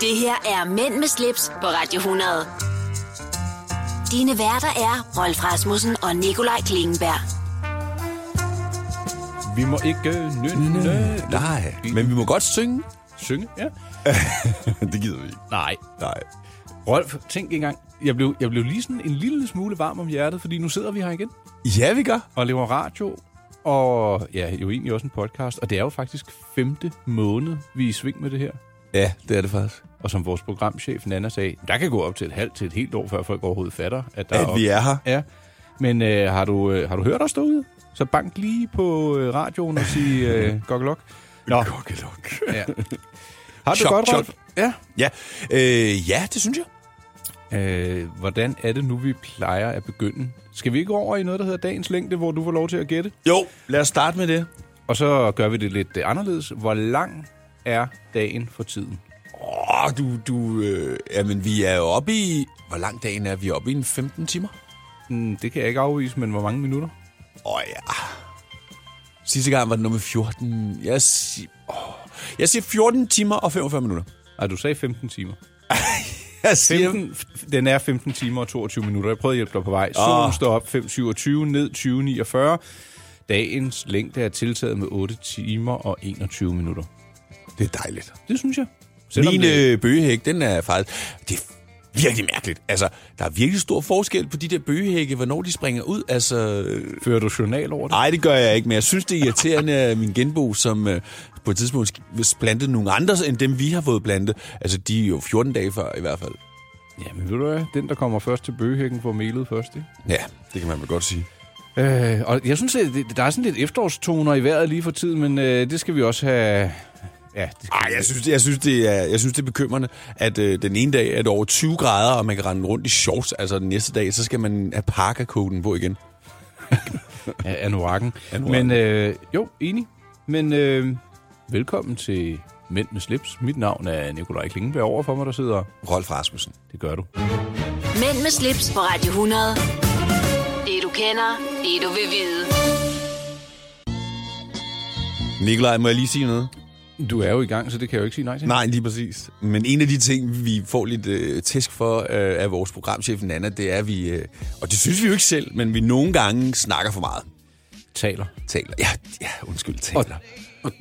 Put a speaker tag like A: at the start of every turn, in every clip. A: Det her er Mænd med slips på Radio 100. Dine værter er Rolf Rasmussen og Nikolaj Klingenberg.
B: Vi må ikke øh, nynne...
C: Nej, men vi må godt synge.
B: Synge, ja.
C: det gider vi ikke.
B: Nej.
C: Nej.
B: Rolf, tænk engang. Jeg blev, jeg blev lige sådan en lille smule varm om hjertet, fordi nu sidder vi her igen
C: Ja, vi gør.
B: og laver radio. Og ja, jo egentlig også en podcast. Og det er jo faktisk femte måned, vi er i sving med det her.
C: Ja, det er det faktisk.
B: Og som vores programchef Nana sagde, der kan gå op til et halvt til et helt år, før folk overhovedet fatter, at der
C: At
B: op-
C: vi er her.
B: Ja. Men øh, har, du, øh, har du hørt os derude? Så bank lige på øh, radioen og sig øh, gokkelok. Nå,
C: Kokkelok.
B: ja. Har du
C: Chop,
B: godt, Rolf?
C: chop.
B: Ja.
C: Ja. Øh, ja, det synes jeg.
B: Øh, hvordan er det nu, vi plejer at begynde? Skal vi ikke over i noget, der hedder dagens længde, hvor du får lov til at gætte?
C: Jo, lad os starte med det.
B: Og så gør vi det lidt øh, anderledes. Hvor lang er dagen for tiden?
C: Åh, oh, du, du, øh, jamen vi er jo oppe i, hvor lang dagen er vi oppe i? En 15 timer?
B: Mm, det kan jeg ikke afvise, men hvor mange minutter?
C: Åh oh, ja. Sidste gang var det nummer 14. Jeg, sig, oh, jeg siger 14 timer og 45 minutter.
B: Ej, du sagde 15 timer.
C: Jeg siger,
B: 15, f- den er 15 timer og 22 minutter. Jeg prøvede at hjælpe dig på vej. Solen
C: Åh.
B: står op 5.27, ned 20.49. Dagens længde er tiltaget med 8 timer og 21 minutter.
C: det er dejligt.
B: Det synes jeg. Selvom
C: Min
B: det,
C: øh, bøgehæk, den er faktisk... Det er virkelig mærkeligt. Altså, der er virkelig stor forskel på de der bøgehække, hvornår de springer ud. Altså, øh,
B: fører du journal over det?
C: nej, det gør jeg ikke, men jeg synes, det er irriterende, at min genbo, som øh, på et tidspunkt plantede nogle andre, end dem vi har fået plantet, altså, de er jo 14 dage før i hvert fald.
B: Jamen ved du hvad, den der kommer først til bøgehækken får melet først, ikke?
C: Ja, det kan man vel godt sige.
B: Øh, og jeg synes, at det, der er sådan lidt efterårstoner i vejret lige for tiden, men øh, det skal vi også have... Ja, det skal
C: Ej, jeg synes, jeg synes, det, er, jeg synes, det er bekymrende, at øh, den ene dag er det over 20 grader, og man kan rende rundt i shorts. Altså den næste dag, så skal man have parkerkoden på igen.
B: af anorakken.
C: Anorakken.
B: Men øh, jo, enig. Men øh, velkommen til Mænd med slips. Mit navn er Nikolaj Klingenberg. Over for mig, der sidder...
C: Rolf Rasmussen.
B: Det gør du.
A: Mænd med slips på Radio 100. Det du kender, det du vil vide.
C: Nikolaj, må jeg lige sige noget?
B: Du er jo i gang, så det kan jeg jo ikke sige nej til.
C: Nej, lige præcis. Men en af de ting, vi får lidt øh, tæsk for øh, af vores programchef Nana, det er, at vi, øh, og det synes vi jo ikke selv, men vi nogle gange snakker for meget.
B: Taler.
C: Taler. Ja, ja undskyld,
B: Og,
C: taler.
B: og,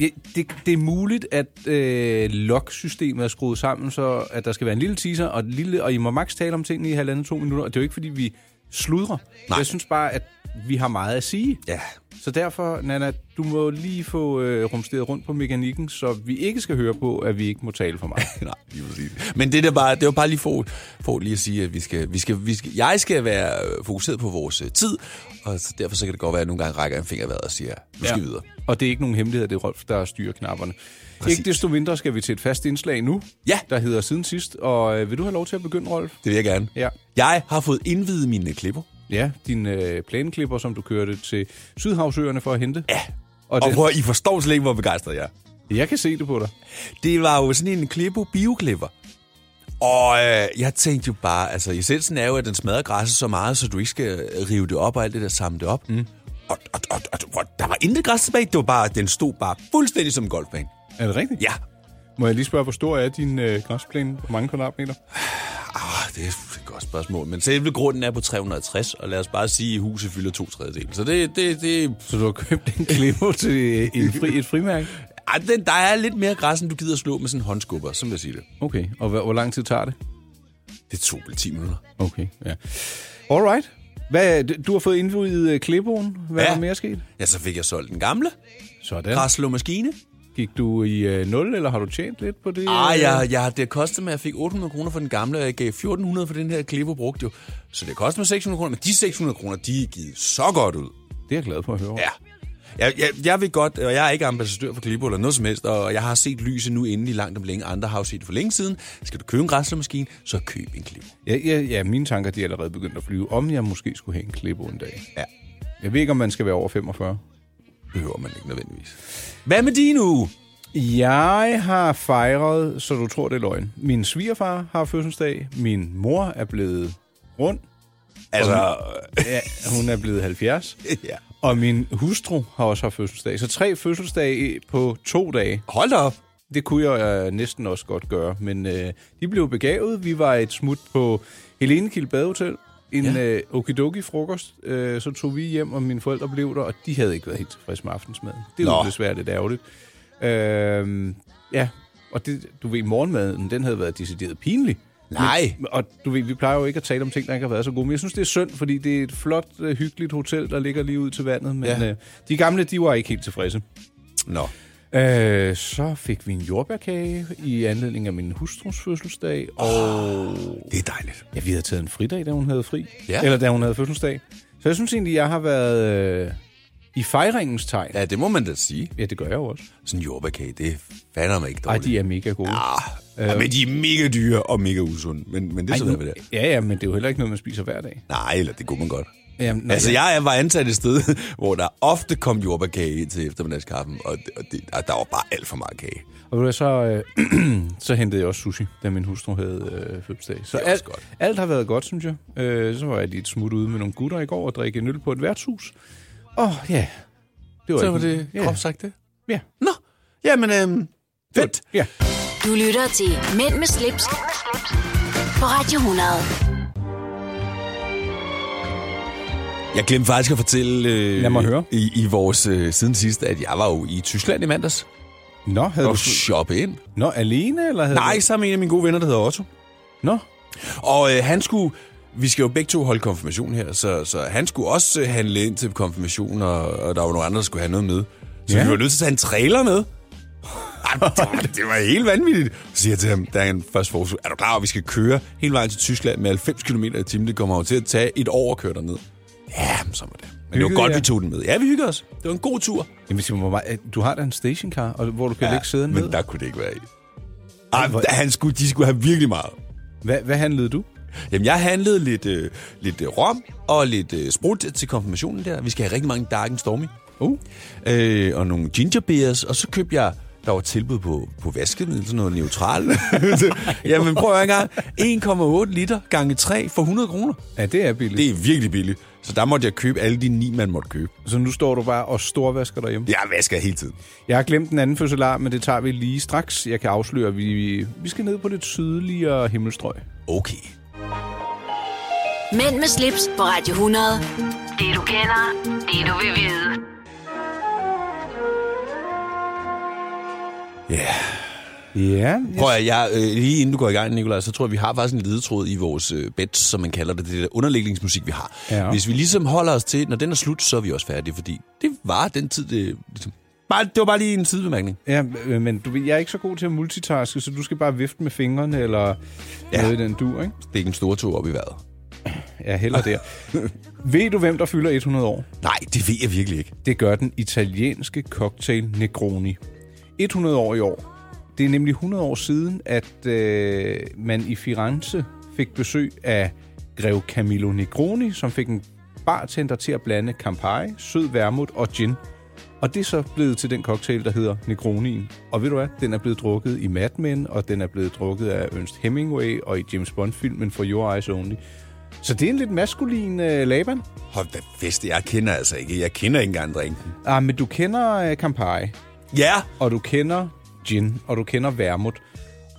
B: ja, det, det er muligt, at øh, log-systemet er skruet sammen, så at der skal være en lille teaser, og, et lille, og I må max tale om tingene i halvanden to minutter. Og det er jo ikke, fordi vi sludrer.
C: Nej.
B: Jeg synes bare, at vi har meget at sige.
C: Ja.
B: Så derfor, Nana, du må lige få øh, rumsteret rundt på mekanikken, så vi ikke skal høre på, at vi ikke må tale for meget.
C: Nej, lige præcis. Men det, der bare, det var bare lige for, for lige at sige, at vi skal, vi skal, vi skal, jeg skal være øh, fokuseret på vores øh, tid, og så derfor så kan det godt være, at jeg nogle gange rækker en finger i vejret og siger, nu skal vi videre.
B: Og det er ikke nogen hemmelighed, det er Rolf, der styrer knapperne. Præcis. Ikke desto mindre skal vi til et fast indslag nu,
C: Ja.
B: der hedder Siden Sidst. Og øh, vil du have lov til at begynde, Rolf?
C: Det vil jeg gerne.
B: Ja.
C: Jeg har fået indvidet mine klipper,
B: Ja, din øh, planklipper, som du kørte til Sydhavsøerne for at hente. Ja. Og,
C: og
B: det,
C: prøv at- I forstår slet ikke, hvor begejstret jeg er.
B: jeg kan se det på dig.
C: Det var jo sådan en klippo bioklipper. Og øh, jeg tænkte jo bare, altså essensen er jo, at den smadrer græsset så meget, så du ikke skal rive det op og alt det der samle det op. Mm. Og, og, og, og, og, der var intet græs tilbage, det var bare, den stod bare fuldstændig som en golfbane.
B: Er det rigtigt?
C: Ja,
B: Må jeg lige spørge, hvor stor er din øh, græsplæne? Hvor mange kvadratmeter?
C: ah, det er et godt spørgsmål, men selve grunden er på 360, og lad os bare sige, at huset fylder to tredjedel. Så det, det, det,
B: Øh, Så du har købt en klipper til øh, en fri, et frimærke?
C: ej, den, der er lidt mere græs, end du gider slå med sådan en håndskubber, som jeg siger det.
B: Okay, og hvor, hvor lang tid tager det?
C: Det tog vel 10 minutter.
B: Okay, ja. Alright. Hvad, du har fået indvidet øh, klipbogen. Hvad ja.
C: Ja.
B: er der mere sket?
C: Ja, så fik jeg solgt den gamle
B: Sådan.
C: græsslåmaskine.
B: Gik du i øh, 0, eller har du tjent lidt på det?
C: Ah, jeg, jeg, det kostede mig, at jeg fik 800 kroner for den gamle, og jeg gav 1400 for den her klipper brugt jo. Så det kostede mig 600 kroner, men de 600 kroner, de er givet så godt ud.
B: Det er jeg glad for at høre.
C: Ja. Jeg, jeg, jeg vil godt, og jeg er ikke ambassadør for Klippo eller noget som helst, og jeg har set lyset nu endelig langt om længe. Andre har jo set det for længe siden. Skal du købe en græslemaskine, så køb en Klippo.
B: Ja, ja, ja, mine tanker de er allerede begyndt at flyve. Om jeg måske skulle have en klipbo en dag.
C: Ja.
B: Jeg ved ikke, om man skal være over 45.
C: Behøver man ikke nødvendigvis. Hvad med din uge?
B: Jeg har fejret, så du tror, det er løgn. Min svigerfar har fødselsdag. Min mor er blevet rund. øh,
C: Altså,
B: Ja, hun er blevet 70.
C: ja.
B: Og min hustru har også haft fødselsdag. Så tre fødselsdage på to dage.
C: hold da op.
B: Det kunne jeg øh, næsten også godt gøre, men øh, de blev begavet. Vi var et smut på Helenekilde Badehotel, en ja. øh, okidoki-frokost. Øh, så tog vi hjem, og mine forældre blev der, og de havde ikke været helt tilfredse med aftensmaden. Det var
C: Nå.
B: jo desværre lidt ærgerligt. Øh, ja, og det, du ved, morgenmaden, den havde været decideret pinlig.
C: Nej.
B: Men, og du ved, vi plejer jo ikke at tale om ting, der ikke har været så gode. Men jeg synes, det er synd, fordi det er et flot, øh, hyggeligt hotel, der ligger lige ud til vandet. Men
C: Ja.
B: ja. øh, de gamle, de var ikke helt tilfredse.
C: Nå.
B: Øh, så fik vi en jordbærkage i anledning af min hustrus fødselsdag, og
C: Det er dejligt.
B: ja, vi havde taget en fridag, da hun havde fri,
C: Ja.
B: eller da hun havde fødselsdag. Så jeg synes egentlig, jeg har været øh, i fejringens tegn. Ja.
C: Ja, det må man da sige.
B: ja, det gør jeg jo også.
C: Sådan en jordbærkage, det fander mig ikke
B: Ej,
C: dårligt.
B: de er mega gode.
C: Ah, øh. Men de er mega dyre og mega usunde. Men, men det Ej, sidder vi der.
B: ja, ja, men det er jo heller ikke noget, man spiser hver dag.
C: Nej, eller det kunne man godt.
B: Jamen,
C: Nå, altså, jeg var ansat et sted, hvor der ofte kom jordbærkage ind til eftermiddagskaffen, og, det, og det, og der var bare alt for meget kage.
B: Og ved du hvad, så, øh, så hentede jeg også sushi, da min hustru havde øh, fødselsdag. Så
C: Det er også
B: alt,
C: godt.
B: alt har været godt, synes jeg. Øh, så var jeg lige et smut ude med nogle gutter i går og drikke en øl på et værtshus. Og ja, det var, ikke- ja.
C: sagt det?
B: Ja.
C: Nå, jamen, øhm, fedt.
B: ja.
A: Du lytter til Mænd med slips, på Radio 100.
C: Jeg glemte faktisk at fortælle øh,
B: Lad mig høre.
C: I, i vores øh, siden sidste, at jeg var jo i Tyskland i mandags
B: Nå, havde
C: og
B: du...
C: shoppe ind.
B: Nå, alene, eller havde
C: Nej,
B: Du...
C: sammen med en af mine gode venner, der hedder Otto.
B: Nå,
C: Og øh, han skulle... Vi skal jo begge to holde konfirmation her, så, så han skulle også øh, handle ind til konfirmation, og, og der var nogle andre, der skulle have noget med. Så ja.
B: Ja.
C: vi var nødt til at tage en trailer med. Ej, det, var, det var helt vanvittigt. Så siger jeg til ham, da han først foreslog, er du klar, over, at vi skal køre hele vejen til Tyskland med 90 km i timen? Det kommer jo til at tage et år at køre derned. Ja, men så var det. Men det var
B: Hyggede
C: godt,
B: jer?
C: vi tog den med. Ja, vi hyggede os. Det var en god tur.
B: Jamen, Simon, hvor meget... øh, du har da en stationcar, og hvor du kan ja,
C: ja,
B: lægge sæden
C: men
B: ned.
C: der kunne det ikke være i. Ej,
B: hvor-
C: han skulle, de skulle have virkelig meget.
B: Hvad, hvad handlede du?
C: Jamen, jeg handlede lidt, øh, lidt øh, rom og lidt øh, sprut til konfirmationen der. Vi skal have rigtig mange Dark and Stormy.
B: Uh.
C: Øh, og nogle ginger beers, og så købte jeg der var tilbud på, på vaskemiddel, sådan noget neutralt. Jamen prøv at høre en gang. 1,8 liter gange 3 for 100 kroner.
B: Ja, det er billigt.
C: Det er virkelig billigt. Så der måtte jeg købe alle de ni, man måtte købe.
B: Det... Så nu står du bare og storvasker derhjemme.
C: Jeg vasker hele tiden.
B: Jeg har glemt den anden fødselar, men det tager vi lige straks. Jeg kan afsløre, at vi, vi- vi skal ned på lidt sydligere himmelstrøg.
C: Okay.
A: Mænd med slips på Radio 100. Det du kender, det du vil vide.
C: Ja. Yeah.
B: Ja,
C: Prøv at jeg, øh, lige inden du går i gang, Nicolaj, så tror jeg, vi har faktisk en ledetråd i vores øh, bets, som man kalder det, det der underlægningsmusik, vi har. Ja.
B: Ja.
C: Hvis vi ligesom holder os til, når den er slut, så er vi også færdige, fordi det var den tid, det, ligesom, bare, det var bare lige en sidebemærkning.
B: Ja, øh, men du, ved, jeg er ikke så god til at multitaske, så du skal bare vifte med fingrene eller
C: Ja.
B: ja. noget i den dur, ikke?
C: Det er ikke en stor tog op i vejret.
B: Ja, heller der. Ved du, hvem der fylder 100 år?
C: Nej, det ved jeg virkelig ikke.
B: Det gør den italienske cocktail Negroni. 100 år i år. Det er nemlig 100 år siden, at øh, man i Firenze fik besøg af grev Camillo Negroni, som fik en bartender til at blande Campari, sød vermut og gin. Og det er så blevet til den cocktail, der hedder Negronien. Og ved du hvad, den er blevet drukket i Mad Men, og den er blevet drukket af Ernst Hemingway og i James Bond-filmen For Your Eyes Only. Så det er en lidt maskulin øh, Laban.
C: Hold da fest, jeg kender altså ikke. Jeg kender ikke engang drinken.
B: Ah, men du kender øh, Campari.
C: Ja,
B: og du kender gin, og du kender vermut.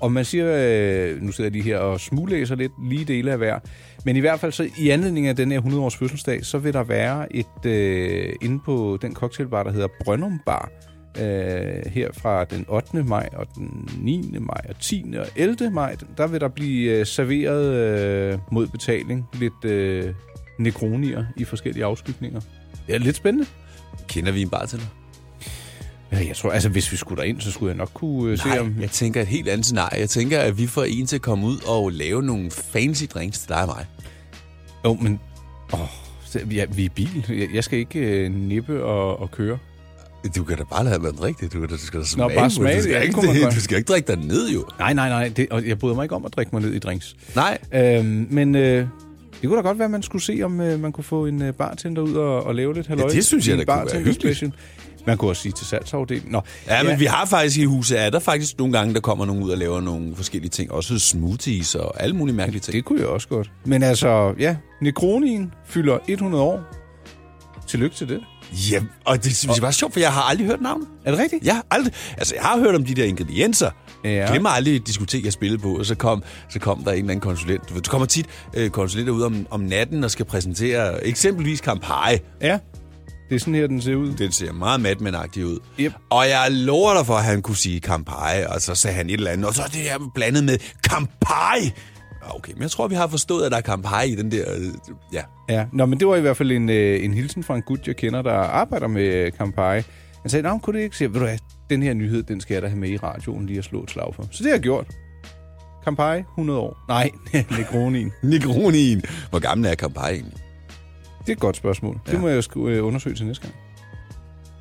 B: Og man siger, øh, nu sidder jeg lige her og smuglæser lidt, lige dele af hver. Men i hvert fald så i anledning af den her 100-års fødselsdag, så vil der være et, øh, inde på den cocktailbar, der hedder Brøndum Bar, øh, her fra den 8. maj og den 9. maj og 10. og 11. maj, der vil der blive øh, serveret øh, mod betaling lidt øh, negronier i forskellige afskygninger. Det er lidt spændende.
C: kender vi en bartender?
B: Ja, jeg tror, altså hvis vi skulle derind, så skulle jeg nok kunne øh, se, om
C: jeg tænker et helt andet scenarie. Jeg tænker, at vi får en til at komme ud og lave nogle fancy drinks til dig og mig.
B: Jo, men... Åh, så- ja, vi er i bil. Jeg- Jeg skal ikke øh, nippe og, og køre.
C: Du kan da bare lade være med at drikke det. Du, kan da, du skal da smage,
B: bare
C: på
B: smage
C: Du
B: det.
C: skal,
B: Ja, det
C: ikke,
B: kunne man
C: det,
B: godt.
C: du skal ikke drikke dig ned, jo.
B: Nej, nej, nej. Det, og jeg bryder mig ikke om at drikke mig ned i drinks.
C: Nej.
B: Øhm, men øh, det kunne da godt være, at man skulle se, om øh, man kunne få en øh, bartender ud og, og lave lidt halløj.
C: det synes jeg,
B: i
C: da
B: en
C: kunne være
B: bartender
C: hyggeligt.
B: special. Man kunne også sige til salgsafdelingen. Nå,
C: Ja, men vi har faktisk i huset, er der faktisk nogle gange, der kommer nogen ud og laver nogle forskellige ting. Også smoothies og alle mulige mærkelige ting.
B: Det kunne jeg også godt. Men altså, ja, Negronien fylder 100 år. Tillykke til det.
C: Ja, og det synes jeg var sjovt, for jeg har aldrig hørt navnet.
B: Er det rigtigt?
C: Jeg har aldrig, altså, jeg har hørt om de der ingredienser.
B: Ja.
C: Ja. Glemmer aldrig et diskotek, jeg spillede på, og så kom, så kom der en eller anden konsulent. Du ved, Der kommer tit øh, konsulenter ud om, om natten og skal præsentere eksempelvis Campari.
B: Ja. Det er sådan her, den ser ud.
C: Den ser meget madman ud.
B: Yep.
C: Og jeg lover dig for, at han kunne sige Campari, og så sagde han et eller andet, og så er det her blandet med Campari. Ah, Okay, men jeg tror, vi har forstået, at der er Campari i den der... øh, Ja,
B: Ja, Nå, men det var i hvert fald en, øh, en hilsen fra en gut, jeg kender, der arbejder med øh, Campari. Han sagde, at kunne det ikke se, ved du hvad, den her nyhed, den skal jeg da have med i radioen lige at slå et slag for. Så det har jeg gjort. Campari, 100 år. Nej, Negronin.
C: Negronien. Hvor gammel er Campari egentlig?
B: Det er et godt spørgsmål. Det
C: Ja.
B: må jeg sku, øh, undersøge til næste gang.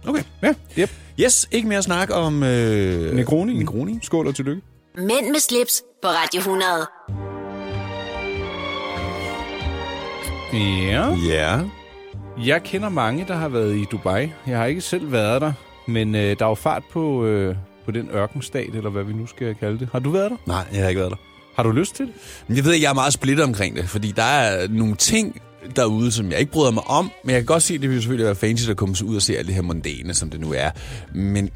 C: Okay.
B: Ja, yep.
C: Yes, ikke mere snak om... Øh,
B: Negronin.
C: Negronin.
B: Skål og tillykke.
A: Mænd med slips på Radio 100.
B: Ja.
C: Ja.
B: Jeg kender mange, der har været i Dubai. Jeg har ikke selv været der, men øh, der er jo fart på, øh, på den ørkenstat, eller hvad vi nu skal kalde det. Har du været der?
C: Nej, jeg har ikke været der.
B: Har du lyst til det?
C: Men Jeg ved, at jeg er meget splittet omkring det, fordi der er nogle ting derude, som jeg ikke bryder mig om, men jeg kan godt se, at det vil selvfølgelig være fancy at komme ud og se alt det her mondæne, som det nu er. Men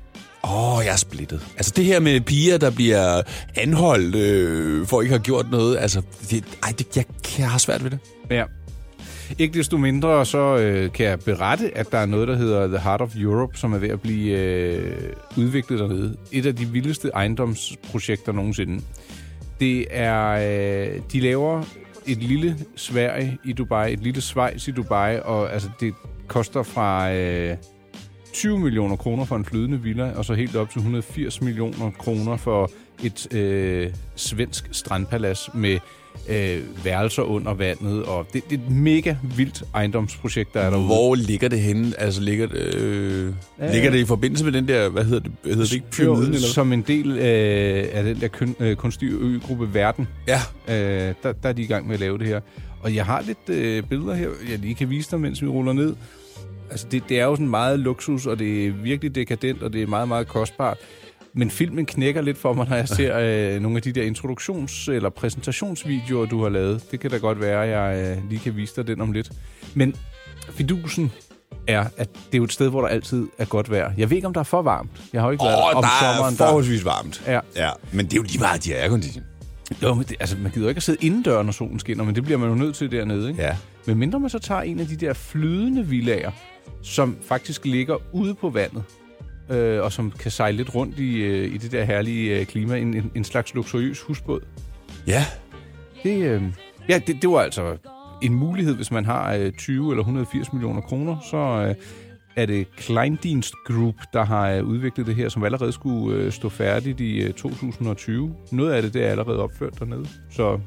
C: åh, jeg er splittet. Altså det her med piger, der bliver anholdt øh, for ikke at have gjort noget, altså det, ej, det, jeg, jeg har svært ved det.
B: Ja. Ikke desto mindre, så øh, kan jeg berette, at der er noget, der hedder The Heart of Europe, som er ved at blive øh, udviklet dernede. Et af de vildeste ejendomsprojekter nogensinde. Det er, øh, de laver et lille Sverige i Dubai, et lille Schweiz i Dubai, og altså, det koster fra øh, 20 millioner kroner for en flydende villa, og så helt op til 180 millioner kroner for et øh, svensk strandpalads med øh, værelser under vandet. Og det, det er et mega vildt ejendomsprojekt, der er derude.
C: Hvor ligger det henne? Altså ligger, det, øh,
B: Ja,
C: ja, ligger
B: ja.
C: det i forbindelse med den der, hvad hedder det, hedder det ikke pyramiden? Eller? hvad?
B: Som en del øh, af den der kun, øh, kunstige øgruppe Verden,
C: Ja,
B: Øh, der, der er de i gang med at lave det her. Og jeg har lidt øh, billeder her, jeg lige kan vise dig, mens vi ruller ned. Altså, det, det er jo sådan meget luksus, og det er virkelig dekadent, og det er meget, meget kostbart. Men filmen knækker lidt for mig, når jeg ser øh, nogle af de der introduktions- eller præsentationsvideoer, du har lavet. Det kan da godt være, at jeg øh, lige kan vise dig den om lidt. Men fidusen er, at det er jo et sted, hvor der altid er godt vejr. Jeg ved ikke, om der er for varmt. Jeg har jo ikke været
C: Åh,
B: om
C: der er
B: sommeren.
C: forholdsvis varmt.
B: Ja.
C: ja. Men det er jo lige meget, de er aircondition.
B: Jo, men det, altså, man gider jo ikke at sidde indendør, når solen skinner, men det bliver man jo nødt til dernede, ikke?
C: Ja.
B: Men mindre man så tager en af de der flydende villager, som faktisk ligger ude på vandet, øh, og som kan sejle lidt rundt i, øh, i det der herlige øh, klima, en, en, en slags luksuriøs husbåd.
C: Ja.
B: Det, øh, ja, det, det var altså en mulighed, hvis man har øh, 20 eller 180 millioner kroner, så øh, er det Kleindienst Group, der har øh, udviklet det her, som allerede skulle øh, stå færdigt i øh, 2020. Noget af det, det er allerede opført dernede, så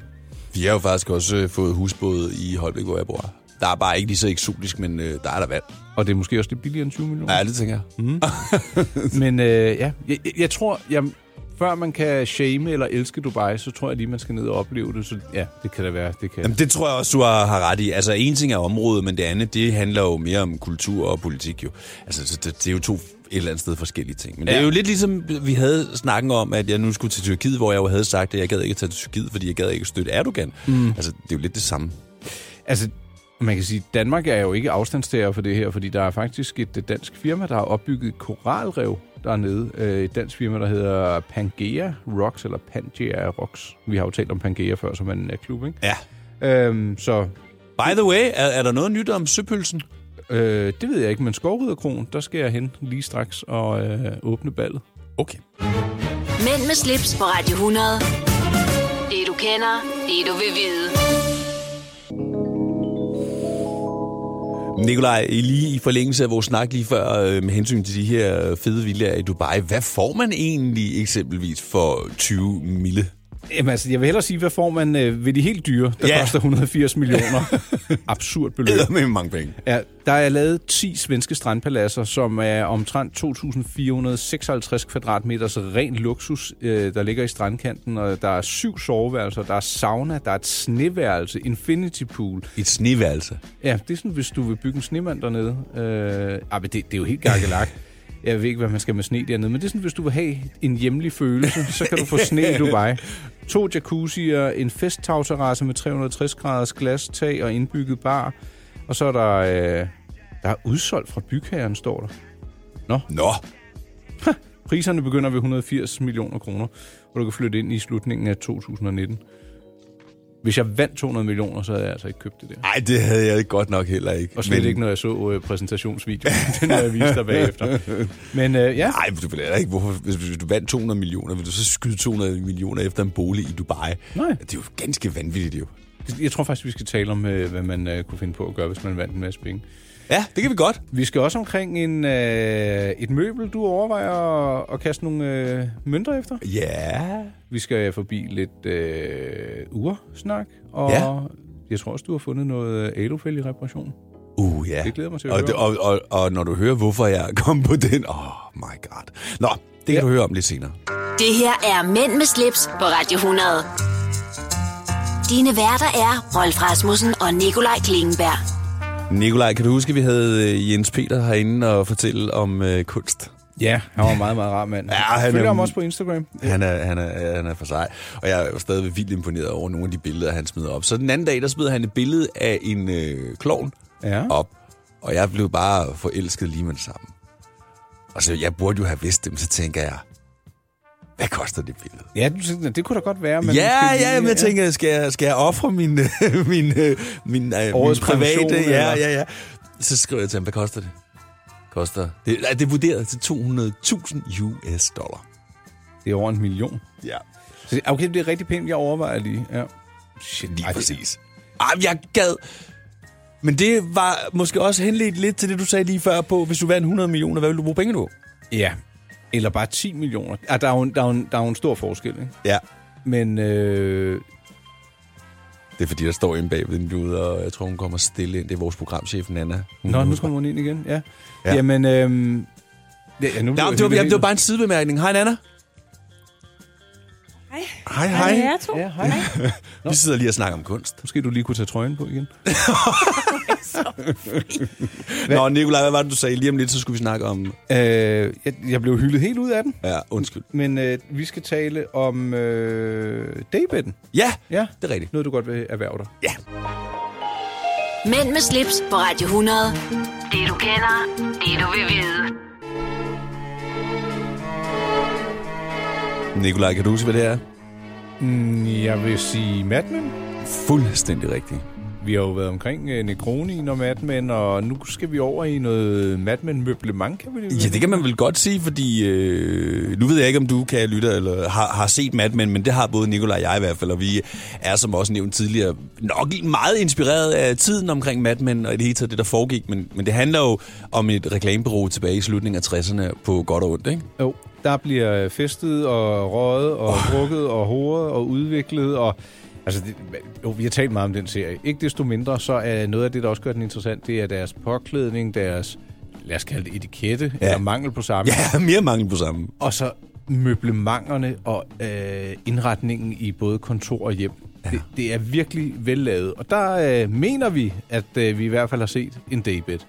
C: Vi har jo faktisk også øh, fået husbåd i Holbæk, hvor jeg bor. Der er bare ikke lige så eksotisk, men øh, der er der vand.
B: Og det er måske også lidt billigere end 20 millioner.
C: Ja, det tænker jeg. Mm.
B: Men øh, ja, jeg, jeg- jeg tror, jeg, før man kan shame eller elske Dubai, så tror jeg lige, man skal ned og opleve det. Så ja, det kan da være. Det kan.
C: Jamen, det tror jeg også, du har, har ret i. Altså, en ting er området, men det andet, det handler jo mere om kultur og politik jo. Altså, så det, det er jo to et eller andet sted forskellige ting. Men ja. det er
B: Ja.
C: jo lidt ligesom, vi havde snakken om, at jeg nu skulle til Tyrkiet, hvor jeg jo havde sagt, at jeg gad ikke at tage til Tyrkiet, fordi jeg gad ikke at støtte Erdogan. Mm. Altså, det er jo lidt det samme.
B: Altså, man kan sige, Danmark er jo ikke afstandstager for det her, fordi der er faktisk et øh, dansk firma, der har opbygget et koralrev dernede. Øh, Et dansk firma, der hedder Pangea Rocks, eller Pangea Rocks. Vi har jo talt om Pangea før, som er en øh, klub, ikke?
C: Ja.
B: Øhm, så
C: By the way, er, er der noget nyt om søpølsen?
B: øh, det ved jeg ikke, men Skovriderkron, der skal jeg hen lige straks og øh, åbne ballet.
C: Okay.
A: Mænd med slips på Radio 100. Det du kender, det du vil vide.
C: Nikolaj, lige i forlængelse af vores snak lige før øh, med hensyn til de her fede villaer i Dubai, hvad får man egentlig eksempelvis for 20 mille?
B: Jamen altså, jeg vil hellere sige, hvad får man øh, ved de helt dyre, der
C: Ja.
B: koster 180 millioner? Absurd beløb.
C: Eller med mange penge.
B: Ja, der er lavet 10 svenske strandpaladser, som er omtrent 2.456 kvadratmeter, så ren luksus, øh, der ligger i strandkanten. Og der er syv soveværelser, der er sauna, der er et sneværelse, infinity pool.
C: Et sneværelse.
B: Ja, det er sådan, hvis du vil bygge en snemand dernede. Øh, ah, men det, det er jo helt gakkelagt. Jeg ved ikke, hvad man skal med sne dernede, men det er sådan, hvis du vil have en hjemlig følelse, så kan du få sne i Dubai. To jacuzzier, en festtagterrasse med 360 graders glastag og indbygget bar, og så er der øh, Der er udsolgt fra bygherren, står der.
C: Nå,
B: Priserne begynder ved 180 millioner kroner, og du kan flytte ind i slutningen af 2019. Hvis jeg vandt 200 millioner, så havde jeg altså ikke købt det der.
C: nej, det havde jeg godt nok heller ikke.
B: Og slet
C: Men-
B: ikke, når jeg så øh, præsentationsvideoen. Den har jeg vist dig bagefter. Men øh, ja,
C: Nej, du vil heller ikke. Hvorfor, hvis, hvis du vandt 200 millioner, vil du så skyde 200 millioner efter en bolig i Dubai?
B: Nej.
C: Det er jo ganske vanvittigt, jo.
B: jeg tror faktisk, vi skal tale om, øh, hvad man øh, kunne finde på at gøre, hvis man vandt en masse penge.
C: Ja, det kan vi godt.
B: Vi skal også omkring en, øh, et møbel, du overvejer at, at kaste nogle øh, mønter efter.
C: Ja.
B: Vi skal forbi lidt øh, ursnak, og ja.
C: Ja.
B: jeg tror også, du har fundet noget alofælge reparation.
C: Uh, ja.
B: Det glæder mig til at
C: og,
B: høre
C: det- og, og, og når du hører, hvorfor jeg kom på den... Oh my god. Nå, det kan
B: Ja.
C: du høre om lidt senere.
A: Det her er Mænd med slips på Radio 100. Dine værter er Rolf Rasmussen og Nikolaj Klingenberg.
C: Nikolaj, kan du huske, at vi havde øh, Jens Peter herinde og fortælle om øh, kunst?
B: Ja, han var en meget, meget rar mand.
C: Ja, han
B: Følger
C: er-
B: ham også på Instagram.
C: Han er, han, er, han er for sej. Og jeg er jo stadigvæk vildt imponeret over nogle af de billeder, han smider op. Så den anden dag, der smider han et billede af en øh, klovn
B: Ja.
C: op. Og jeg blev bare forelsket lige med det samme. Og så jeg burde jo have vidst dem, så tænker jeg, hvad koster det billede?
B: Ja, du tænkte, det kunne da godt være. Men
C: Ja,
B: måske
C: ja, men jeg tænker, skal jeg, skal jeg ofre min, øh, min, øh, min, øh, min
B: Årets pension,
C: private? Ja,
B: eller?
C: ja, ja. Så skriver jeg til ham, hvad koster det? Koster, det, nej, det er vurderet til 200.000 US dollar.
B: Det er over en million.
C: Ja.
B: Så det- okay, det er rigtig pænt, jeg overvejer lige. Ja. Shit,
C: Lige Ej, præcis. Ej, men jeg gad... Men det var måske også henledt lidt til det, du sagde lige før på, hvis du vandt 100 millioner, hvad ville du bruge penge på?
B: Ja. Eller bare 10 millioner. Ah, der, er jo, en- der, er jo, en- der er jo en stor forskel, ikke?
C: Ja.
B: Men øh,
C: Det er fordi, der står inde bag ved vinduet, og jeg tror, hun kommer stille ind. Det er vores programchef, Nana. Hun
B: Nå, nu kommer hun ind igen, ja. ja.
C: Ja.
B: Jamen, øhm, ja, ja, nu bliver
C: Nå, det, var,
B: helt
C: jamen, det var
B: vildt.
C: bare en sidebemærkning. Hej, Nana.
D: Hej.
C: Hej, hej.
D: Hej, jer to.
B: Ja, hej.
C: Vi sidder lige og snakker om kunst.
B: Måske du lige kunne tage trøjen på igen.
C: Nå, Nikolaj, hvad var det, du sagde? Lige om lidt, så skulle vi snakke om...
B: Øh, jeg, jeg blev hyldet helt ud af den.
C: Ja, undskyld.
B: Men øh, vi skal tale om øh, daybedden.
C: Ja,
B: Ja,
C: det er rigtigt.
B: noget du godt vil erhverve dig.
C: Ja.
A: Mænd med slips på Radio 100. Det du kender, det du vil vide.
C: Nikolaj, kan du huske, hvad det er?
B: Mm, Jeg vil sige Mad Men.
C: Fuldstændig rigtigt.
B: Vi har jo været omkring øh, Necronien og Mad Men, og nu skal vi over i noget Mad Men møblement, kan vi lige
C: Ja, det kan man vel godt sige, fordi øh, nu ved jeg ikke, om du kan lytte eller har, har set Mad Men, men det har både Nikolaj og jeg i hvert fald, og vi er, som også nævnt tidligere, nok meget inspireret af tiden omkring Mad Men og i det hele taget det, der foregik. Men, men det handler jo om et reklamebureau tilbage i sludningen af 60'erne på godt og ondt, ikke?
B: Jo, der bliver øh, festet og røget og oh. drukket og hovedet og udviklet og... Altså, det, jo, vi har talt meget om den serie. Ikke desto mindre, så er noget af det, der også gør den interessant, det er deres påklædning, deres, lad os kalde det etikette, ja. eller mangel på samme.
C: Ja, mere mangel på sammen.
B: Og så møblementerne og øh, indretningen i både kontor og hjem. Ja. Det, det er virkelig vellavet. Og der øh, mener vi, at øh, vi i hvert fald har set en daybed.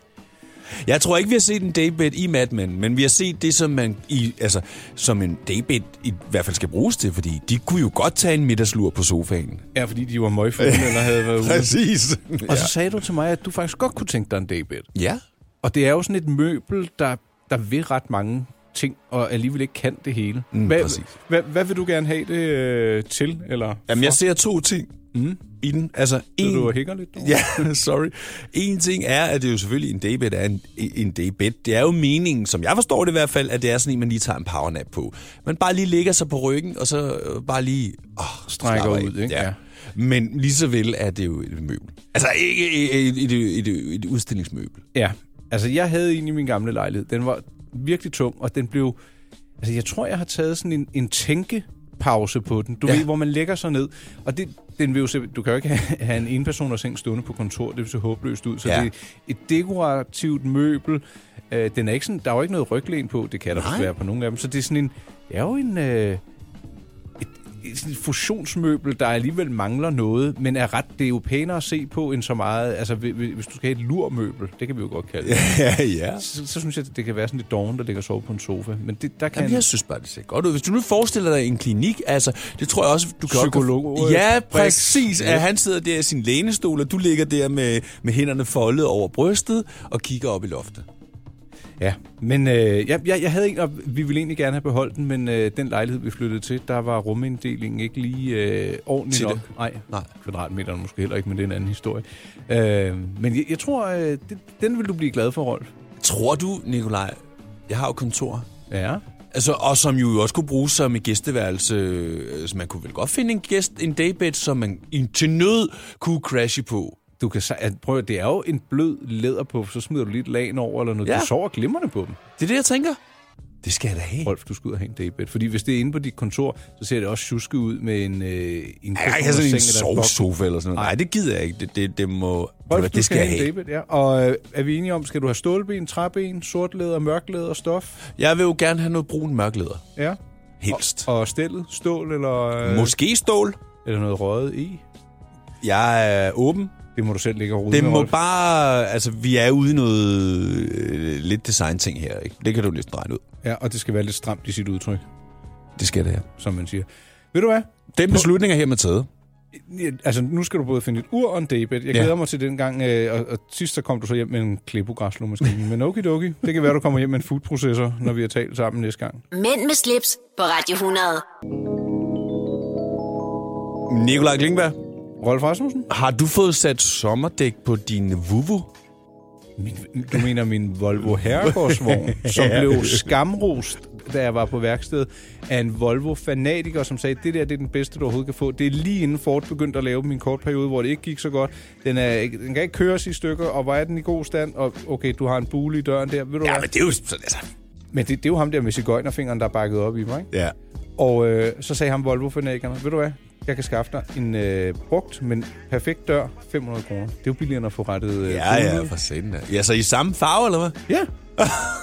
C: Jeg tror ikke, vi har set en daybed i Mad Men, men vi har set det, som, man i, altså, som en daybed i hvert fald skal bruges til, fordi de kunne jo godt tage en middagslur på sofaen.
B: Ja, fordi de var møgfulde eller havde været ude.
C: Præcis.
B: Og så sagde du til mig, at du faktisk godt kunne tænke dig en daybed.
C: Ja.
B: Og det er jo sådan et møbel, der, der vil ret mange ting, og alligevel ikke kan det hele. Mm, hvad,
C: præcis.
B: hvad, hvad vil du gerne have det øh, til? Eller
C: Jamen,
B: for?
C: jeg ser to ting mm. i den. Altså,
B: Sidder
C: en...
B: Du og hækker lidt? derovre?
C: Ja, sorry. En ting er, at det jo selvfølgelig en daybed er en, en daybed. Det er jo meningen, som jeg forstår det i hvert fald, at det er sådan en, man lige tager en powernap på. Man bare lige ligger sig på ryggen, og så øh, bare lige... Åh,
B: Strækker
C: slapper af.
B: ud, ikke? Ja.
C: Ja. Men lige så vel er det jo et møbel. Altså ikke et, et, et, et, et udstillingsmøbel.
B: Ja, altså jeg havde en i min gamle lejlighed. Den var virkelig tung, og den blev... Altså jeg tror, jeg har taget sådan en, en tænkepause på den. Du ja.
C: Ja.
B: ved, hvor man lægger sig ned. Og det, den vil jo se, du kan jo ikke have have en enpersoners seng stående på kontor. Det vil se håbløst ud. Så ja.
C: Ja.
B: det er et dekorativt møbel. Øh, den er ikke sådan, der er jo ikke noget ryglæn på. Det kan der
C: Nej.
B: også være på nogle af dem. Så det er sådan en... Det er jo en... Øh, et, sådan et fusionsmøbel, der alligevel mangler noget, men er ret, det er jo pænere at se på end så meget. Altså, hvi- hvi- hvis du skal have et lurmøbel, det kan vi jo godt kalde det.
C: ja, ja.
B: Så, så synes jeg, at det kan være sådan lidt doven, der ligger og sover på en sofa. Men det, der kan...
C: Jamen, jeg synes bare, det ser godt ud. Hvis du nu forestiller dig en klinik, altså, det tror jeg også, du kan...
B: Psykolog, øh,
C: Ja,
B: Brix.
C: præcis. At han sidder der i sin lænestol, og du ligger der med, med hænderne foldet over brystet og kigger op i loftet.
B: Ja, men øh, jeg, jeg, jeg havde en, og vi ville egentlig gerne have beholdt den, men øh, den lejlighed, vi flyttede til, der var ruminddelingen ikke lige øh, ordentligt
C: Til
B: nok.
C: det.
B: Nej,
C: Nej.
B: kvadratmeteren måske heller ikke, men det er en anden historie. Øh, men jeg, jeg tror, øh, det, den vil du blive glad for, Rolf.
C: Tror du, Nikolaj, jeg har jo kontor,
B: Ja.
C: Altså, og som jo også kunne bruges som et gæsteværelse. Altså, man kunne vel godt finde en gæst, en daybed, som man i- til nød kunne crashe på.
B: Du kan, se- at- prøv at- det er jo en blød læderpuff, så smider du lidt lagen over eller noget. Ja.
C: Ja.
B: Du sover glimrende på dem.
C: Det er det, jeg tænker. Det skal jeg da have.
B: Rolf, du skal ud og have en daybed. Fordi hvis det er inde på dit kontor, så ser det også tjuske ud med en, øh, en
C: Jeg kan ikke have sådan en
B: kuffert og seng, der er
C: sovesofa eller sådan noget. Nej, det gider jeg ikke. Det, det, det må...
B: Rolf,
C: det,
B: du skal
C: det skal jeg
B: have
C: have.
B: en David, ja. Og øh, er vi enige om, skal du have stålben, træben, sortlæder, mørklæder og stof?
C: Jeg vil jo gerne have noget brun mørklæder.
B: Ja.
C: Helst. Og,
B: Og stillet, stål eller,
C: og,
B: øh,
C: Måske stål.
B: eller noget røget i?
C: Jeg er åben.
B: Det må du selv ligge og rode
C: Det
B: med,
C: må
B: Rolf.
C: bare... Altså, vi er ude i noget... Øh, lidt design-ting her, ikke? Det kan du lidt regne ud.
B: Ja, og det skal være lidt stramt i sit udtryk,
C: Det skal det her.
B: som man siger. Ved du hvad?
C: Den beslutning er hermed taget.
B: Ja, Altså, nu skal du både finde et ur og en daybed. Jeg
C: Ja.
B: glæder mig til den gang, øh, og, og sidst så kom du så hjem med en klippogræslåmaskine. Men okidoki, det kan være, du kommer hjem med en foodprocessor, når vi har talt sammen næste gang.
A: Mænd med slips på Radio 100.
C: Nikolaj Klingberg.
B: Rolf Rasmussen?
C: Har du fået sat sommerdæk på din vuvu?
B: Min, du mener min Volvo herregårdsvogn, som blev skamrost, da jeg var på værksted, af en Volvo-fanatiker, som sagde, det der det er den bedste, du overhovedet kan få. Det er lige inden Ford begyndte at lave min kort periode, hvor det ikke gik så godt. Den, er, ikke- den kan ikke køres i stykker, og var den i god stand? Og okay, du har en bule i døren der, ved du hvad?
C: det er jo sådan, altså...
B: Men det, det er jo ham der med cigøjnerfingeren, der er bakket op i mig, ikke?
C: Ja.
B: Og øh, så sagde ham Volvo-fanatikerne, ved du hvad, jeg kan skaffe dig en øh, brugt, men perfekt dør, 500 kroner. Det er jo billigere end at få rettet øh,
C: Ja,
B: bulen
C: ja,
B: ud.
C: for senden. Ja, så i samme farve, eller hvad?
B: Ja,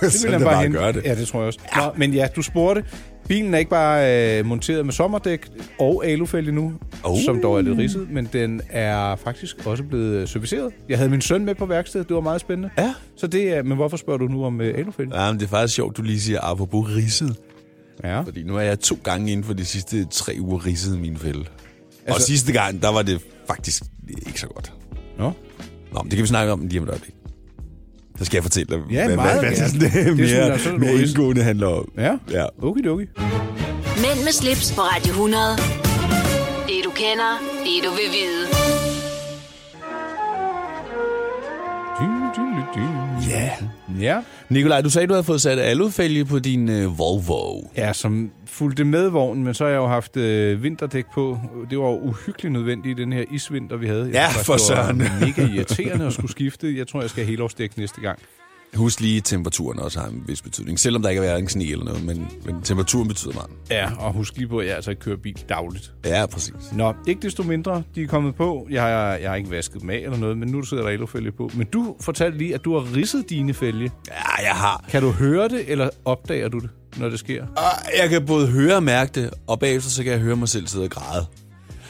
B: det vil han bare hente. Ja, det tror jeg også. Ja. Nå, men ja, du spurgte. Bilen er ikke bare øh, monteret med sommerdæk og alufælge nu, oh.
C: Oh.
B: som dog er lidt ridset, men den er faktisk også blevet øh, serviceret. Jeg havde min søn med på værkstedet, det var meget spændende.
C: Ja.
B: Så det er, men hvorfor spørger du nu om øh, alufælge?
C: Ja, men det er faktisk sjovt, du lige siger apropos ridset.
B: Ja.
C: Fordi nu er jeg to gange inden for de sidste tre uger ridset i min fælde. Altså... Og sidste gang, der var det faktisk ikke så godt.
B: Nå.
C: Nå, men det kan vi snakke om lige om et øjeblik. Så skal jeg fortælle dig,
B: Ja,
C: hvad,
B: meget
C: hvad, hvad
B: gerne.
C: sådan, det
B: Det er sådan, der er
C: mere,
B: sådan,
C: mere
B: du ridser.
C: indgående handler om.
B: Ja.
C: ja.
B: Okidoki.
A: Mænd med slips på Radio 100. Det du kender, det du vil vide.
C: Ja.
B: Ja.
C: Nikolaj, du sagde, du havde fået sat alufælge på din øh, Volvo.
B: Ja, som fulgte med vognen, men så har jeg jo haft øh, vinterdæk på. Det var jo uhyggeligt nødvendigt i den her isvinter, vi havde. Jeg
C: Ja,
B: synes
C: for
B: faktisk, Det var
C: søren.
B: mega irriterende at skulle skifte. Jeg tror, jeg skal have helårsdæk næste gang.
C: Husk lige, at temperaturen også har en vis betydning. Selvom der ikke har været en sne eller noget, men, men temperaturen betyder meget.
B: Ja, og husk lige på, at jeg altså ikke kører bil dagligt.
C: Ja, præcis.
B: Nå, ikke desto mindre, de er kommet på. Jeg har, jeg har ikke vasket dem af eller noget, men nu sidder der elofælge på. Men du fortalte lige, at du har ridset dine fælge.
C: Ja, jeg har.
B: Kan du høre det, eller opdager du det, når det sker?
C: Og Jeg kan både høre og mærke det, og bagefter så kan jeg høre mig selv sidde og græde.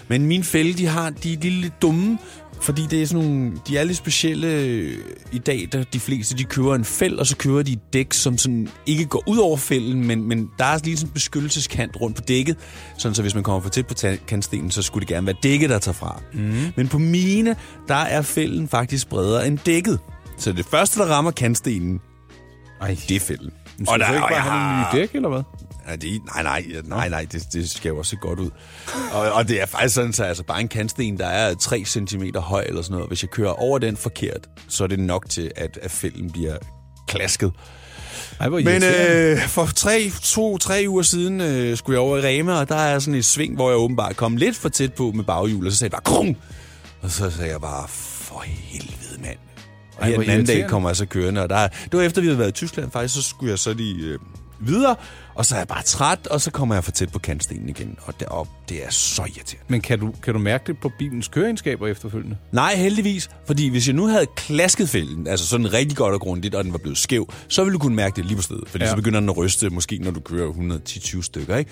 C: Men mine fælde, de, har, de, de er lidt dumme, fordi det er sådan nogle, de er lidt specielle øh, i dag, der de fleste de kører en fæld, og så kører de et dæk, som sådan ikke går ud over fælden, men, men der er lige sådan en beskyttelseskant rundt på dækket, sådan så hvis man kommer for tæt på ta- kantstenen, så skulle det gerne være dækket, der tager fra.
B: Mhm.
C: Mm. Men på mine, der er fælden faktisk bredere end dækket. Så det første, der rammer kantstenen,
B: Ej,
C: det er fælden.
B: og der,
C: der-
B: ikke bare
C: jeg
B: have nogle
C: har-
B: nye dæk, eller hvad?
C: Ja, det, er- nej, nej, nej, nej, det, det skal jo også se godt ud. Og, og det er faktisk sådan, så altså bare en kantsten, der er 3 cm høj eller sådan noget. Hvis jeg kører over den forkert, så er det nok til, at, at fælden bliver klasket.
B: Ej, hvor
C: Men
B: irriterende.
C: øh, for tre, to, tre uger siden øh, skulle jeg over i Rema, og der er sådan et sving, hvor jeg åbenbart kom lidt for tæt på med baghjul, og så sagde jeg bare, Krung! Og så sagde jeg bare, for helvede, mand. Og
B: Ej,
C: her
B: hvor
C: den anden dag
B: irriterende.
C: kommer jeg så kørende, og der, det var efter, vi havde været i Tyskland faktisk, så skulle jeg så lige øh, videre, og så er jeg bare træt, og så kommer jeg for tæt på kantstenen igen, og deroppe, det er så irriterende.
B: Men kan du, kan du mærke det på bilens køreegenskaber efterfølgende?
C: Nej, heldigvis, fordi hvis jeg nu havde klasket fælden, altså sådan rigtig godt og grundigt, og den var blevet skæv, så ville du kunne mærke det lige på stedet, fordi
B: Ja.
C: ja. så begynder den at ryste, måske når du kører 110-20 stykker, ikke?